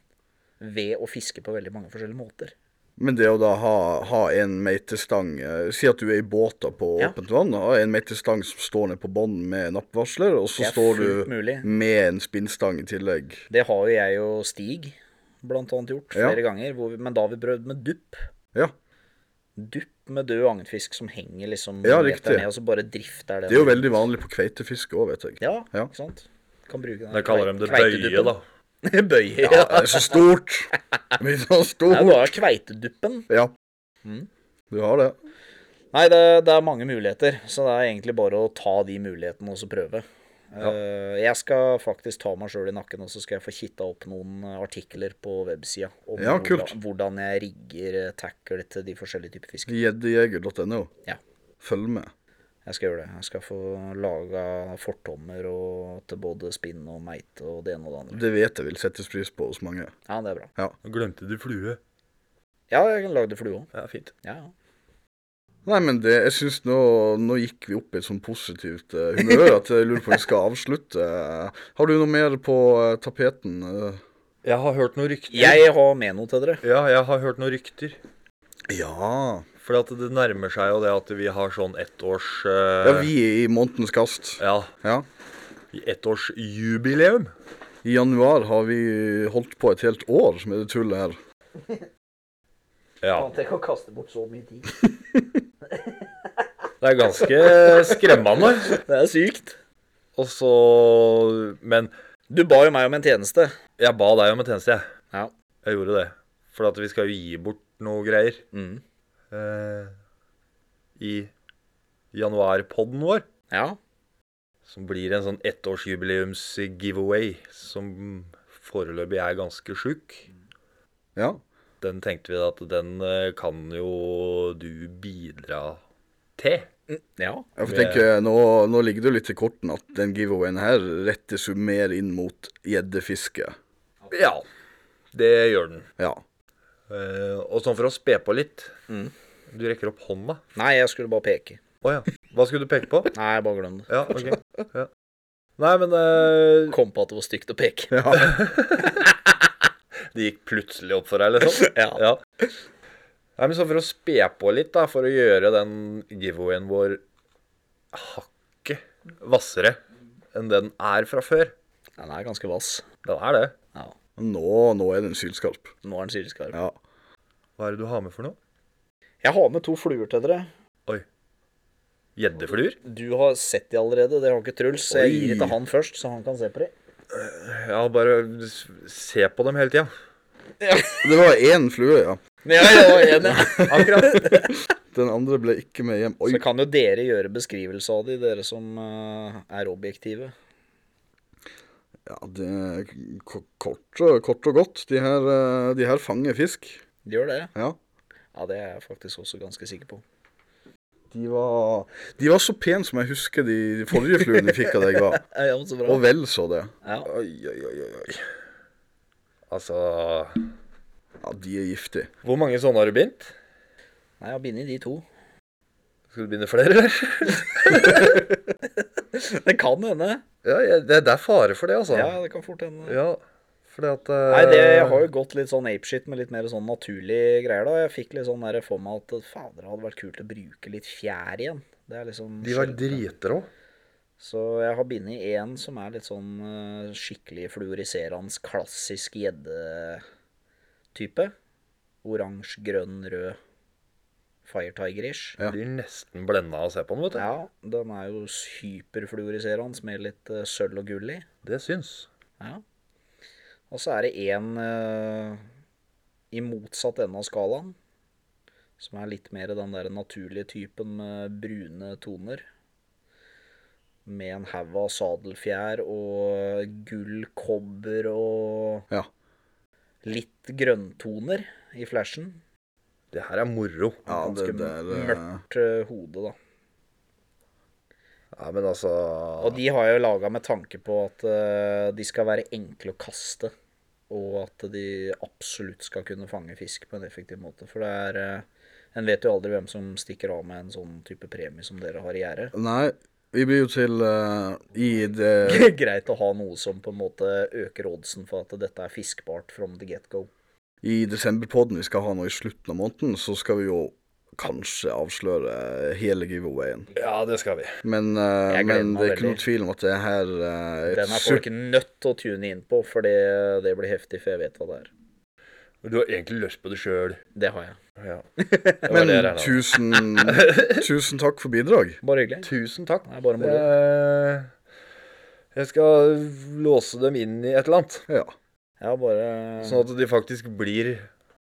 D: Ved å fiske på veldig mange forskjellige måter.
C: Men det å da ha, ha en meitestang eh, Si at du er i båter på
D: Ja.
C: åpent vann. Ha en meitestang som står ned på bånden med nappvarsler, og
D: Det
C: så
D: er
C: står
D: fullt
C: du
D: mulig.
C: med en spinnstang i tillegg.
D: Det har jo jeg og Stig blant annet gjort
C: Ja.
D: flere ganger, hvor vi, men da har vi prøvd med dupp.
C: Ja.
D: Dupp med død agnfisk som henger liksom
C: Ja,
D: rett der
C: riktig.
D: ned, og så bare drifter det.
C: Det er jo veldig vanlig på kveitefiske òg, vet jeg.
D: Ja,
C: Ja.
D: ikke sant? Kan bruke den
B: Der kaller de det
D: kveiteduppen.
B: bøye, da.
D: [laughs] bøye, ja.
C: Ja, det er så
D: [laughs]
C: stort! Det er så
D: Det er
C: stort.
D: bare kveiteduppen.
C: Ja.
D: Mm.
C: Du har det.
D: Nei, det, det er mange muligheter, så det er egentlig bare å ta de mulighetene og så prøve. Eh, Jeg skal faktisk ta meg sjøl i nakken, og så skal jeg få kitta opp noen eh, artikler på websida om
C: Ja, kult.
D: hvordan, hvordan jeg rigger eh, tackle til de forskjellige typer fisk.
C: Gjeddejeger.no.
D: Ja.
C: Følg med.
D: Jeg skal gjøre det. Jeg skal få laga fortommer og til både spinn og meite og det ene og det andre.
C: Det vet jeg vil settes pris på hos mange.
D: Ja, det er bra.
B: Nå glemte du flue.
D: Ja, jeg kan lage det for du òg.
B: Ja, fint.
D: Ja, ja.
C: Nei, men det, jeg syns nå, nå gikk vi opp i et sånn positivt eh, humør at jeg lurer på om vi skal avslutte. Har du noe mer på eh, tapeten? eh?
B: Jeg har hørt noen rykter.
D: Jeg har med noe til dere.
B: Ja, jeg har hørt noen rykter.
C: Ja.
B: For at det nærmer seg jo det at vi har sånn ettårs...
C: ja.
B: Uh,
C: Vi er i månedens kast.
B: ja,
C: Ja.
B: ettårsjubileum.
C: I januar har vi holdt på et helt år med det tullet her.
B: Ja.
D: Tenk å kaste bort så mye tid.
B: Det er ganske skremmende.
D: Det er sykt.
B: Og så Men
D: Du ba jo meg om en tjeneste.
B: jeg ba deg om en tjeneste, jeg.
D: Ja.
B: Jeg gjorde det. For at vi skal jo gi bort noe greier
D: Mm.
B: eh, i januarpodden vår.
D: Ja.
B: Som blir en sånn ettårsjubileums-giveaway som foreløpig er ganske sjuk.
C: Ja.
B: Den tenkte vi at den eh, kan jo du bidra til.
D: ja.
C: Jeg får
B: Det-
C: tenke, nå, nå ligger det jo litt i korten at den giveawayen her rettes jo mer inn mot gjeddefiske.
B: Ja, det gjør den.
C: Ja.
B: Eh, og sånn for å spe på litt
D: Mm.
B: Du rekker opp hånda.
D: Nei, jeg skulle bare peke.
B: Å ja. Hva skulle du peke på?
D: Nei, bare glem det.
B: Ja, OK. Ja. Nei, men eh,
D: Kom på at det var stygt å peke. [laughs]
C: ja.
B: Det gikk plutselig opp for deg, liksom?
D: Ja.
B: [laughs] ja. Nei, men sånn for å spe på litt, da, for å gjøre den giveawayen vår hakket hvassere enn den er fra før.
D: Den er ganske vass.
B: Den er det.
D: Ja.
C: Nå, nå er den sylskarp.
D: Nå er den sylskarp.
C: Ja.
B: Hva er det du har med for noe?
D: Jeg har med to fluer til dere.
B: Gjeddefluer?
D: Du har sett de allerede, det har ikke Truls. Så jeg
C: Oi.
D: gir det til han først, så han kan se på de.
B: Ja, bare s- se på dem hele tida.
C: Det var én flue, ja.
D: [laughs] Ja, ja, ja, ja. [laughs]
B: Akkurat.
C: Den andre ble ikke med hjem. Oi.
D: Så kan jo dere gjøre beskrivelse av de, dere som eh, er objektive.
C: Ja, det er k- kort, og- kort og godt. De her, eh, de her fanger fisk.
D: De gjør det?
C: Ja.
D: Ja, det er jeg faktisk også ganske sikker på.
C: De var, de var så pene som jeg husker de, de forrige fluene vi fikk av deg var.
D: Ja, så bra.
C: Og vel så det.
D: Ja.
C: Oi, oi, oi, oi, oi.
B: Altså
C: Ja, de er giftige.
B: Hvor mange sånne har du bindt?
D: Nei, jeg har bindet de to.
B: Skal du binde flere, eller? [laughs]
D: Det kan hende.
B: Ja, jeg- det, det er fare for det, altså.
D: Ja, det kan fort hende.
B: Ja, fordi at eh,
D: Nei, det jeg har jo gått litt sånn apeshit med litt mer sånn naturlige greier da. Jeg fikk litt sånn der for meg at fader, det hadde vært kult å bruke litt fjær igjen. Det er liksom
B: De var
D: sjelden.
B: dritrå.
D: Så jeg har bindet en som er litt sånn eh, skikkelig fluoriserende, klassisk gjeddetype. Oransje, grønn, rød. Fire Tiger-ish.
C: Ja.
B: Blir nesten blenda av å se på den, vet du.
D: Ja, den er jo hyperfluoriserende med litt eh, sølv og gull i.
B: Det syns.
D: Ja. Og så er det en eh, i motsatt ende av skalaen, som er litt mer den der naturlige typen med brune toner. Med en haug av sadelfjær og gull, kobber og
C: Ja.
D: litt grønntoner i flashen.
B: Det her er moro.
C: Ja,
D: Ganske
C: det der eh,
D: mørkt eh, hode, da.
B: Ja, men altså
D: Og de har jeg jo laga med tanke på at eh, de skal være enkle å kaste. Og at de absolutt skal kunne fange fisk på en effektiv måte. For det er eh, En vet jo aldri hvem som stikker av med en sånn type premie som dere har i gjerdet.
C: Nei, vi blir jo til eh, i det
D: [laughs] Greit å ha noe som på en måte øker oddsen for at dette er fiskbart from the get go.
C: I desemberpodden vi skal ha nå i slutten av måneden, så skal vi jo kanskje avsløre hele giveawayen.
B: Ja, det skal vi.
C: Men, eh,
D: Jeg gleder
C: men
D: meg
C: det er ikke
D: veldig.
C: noe tvil om at det her eh, er
D: Den
C: et
D: er
C: super...
D: folk nødt til å tune inn på, for det, det blir heftig, for jeg vet hva det er.
B: Du har egentlig lyst på det sjøl.
D: Det har jeg. [laughs]
B: Ja.
C: Men
B: det jeg regnet med.
C: tusen,
B: [laughs]
C: tusen takk for bidrag.
D: Bare hyggelig.
B: Tusen takk.
D: Det er bare moro.
B: Eh, Jeg skal låse dem inn i et eller annet,
C: Ja.
D: Ja, bare
B: sånn at de faktisk blir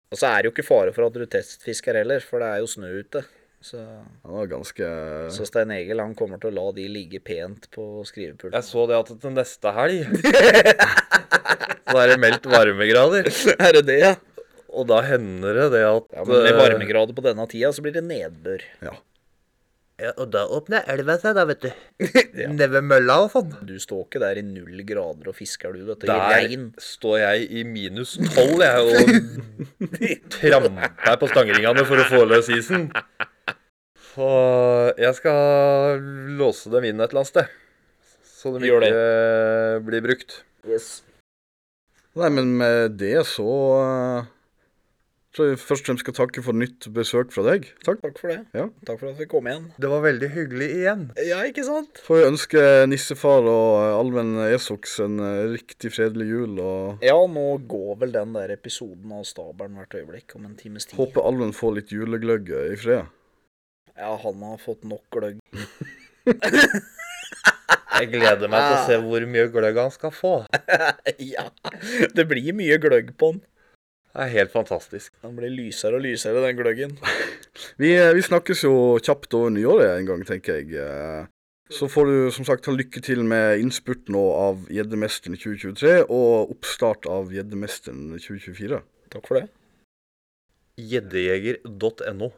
D: Og så er det jo ikke fare for at du testfisker heller, for det er jo snø ute. Så,
C: Han var ganske
D: så Stein Egil han kommer til å la de ligge pent på skrivepulten.
B: Jeg så det at til neste helg [laughs] Så er det meldt varmegrader.
D: [laughs] Er det det, ja?
B: Og da hender det det at
D: ja men med
B: eh,
D: varmegrader på denne tida, så blir det nedbør.
C: Ja.
B: ja, Og da åpner elva seg, da, [laughs] vet du.
D: Ja.
B: Nede ved mølla og sånn.
D: Du står ikke der i null grader og fisker, du, vet du. I
B: Der
D: regn.
B: står jeg i minus tolv, jeg, og [laughs] tramper på stangringene for å få løs isen. Så jeg skal låse dem inn et eller annet sted, så de
D: Gjør det.
B: ikke blir brukt.
D: Yes.
C: Nei, men med det så eh, tror jeg først og fremst skal takke for nytt besøk fra deg. Takk.
D: Takk for det.
C: Ja.
D: Takk for at vi kom igjen.
B: Det var veldig hyggelig igjen.
D: Ja, ikke sant?
C: Får jeg ønske nissefar og eh, Alven Esox en eh, riktig fredelig jul og
D: Ja, nå går vel den der episoden av stabelen hvert øyeblikk om en times tid.
C: Håper Alven får litt julegløgg i fred.
D: Ja, han har fått nok gløgg. [laughs]
B: Jeg gleder meg til å se hvor mye gløgg han skal få.
D: ja. Det blir mye gløgg på han.
B: Det er helt fantastisk.
D: Den blir lysere og lysere, den gløggen.
C: Vi, eh, vi snakkes jo kjapt over nyåret en gang, tenker jeg. Eh, Så får du som sagt ha lykke til med innspurt nå av Gjeddemesteren 2023 og oppstart av Gjeddemesteren 2024.
D: Takk for det.
B: Gjeddejeger.no.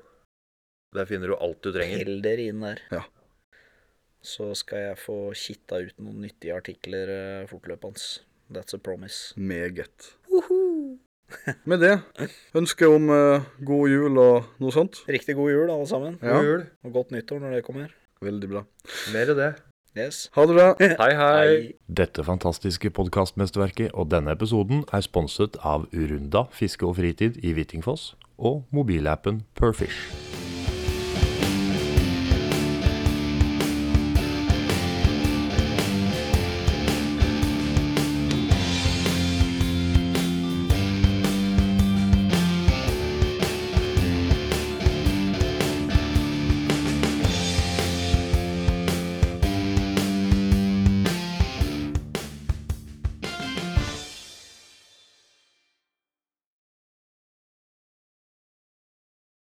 B: Der finner du alt du trenger.
D: Hell dere inn der.
C: Ja.
D: Så skal jeg få kitta ut noen nyttige artikler eh, fortløpende. That's a promise.
C: Meget. Med det ønsker jeg om eh, god jul og noe sånt.
D: Riktig god jul, alle sammen.
C: Ja,
B: God jul.
D: Og godt nyttår når det kommer.
C: Veldig bra.
B: Mer av det.
D: Yes.
C: Ha det bra.
B: Hei, hei.
A: Dette fantastiske podkastmesterverket og denne episoden er sponset av Urunda fiske og fritid i Hvittingfoss og mobilappen Perfish.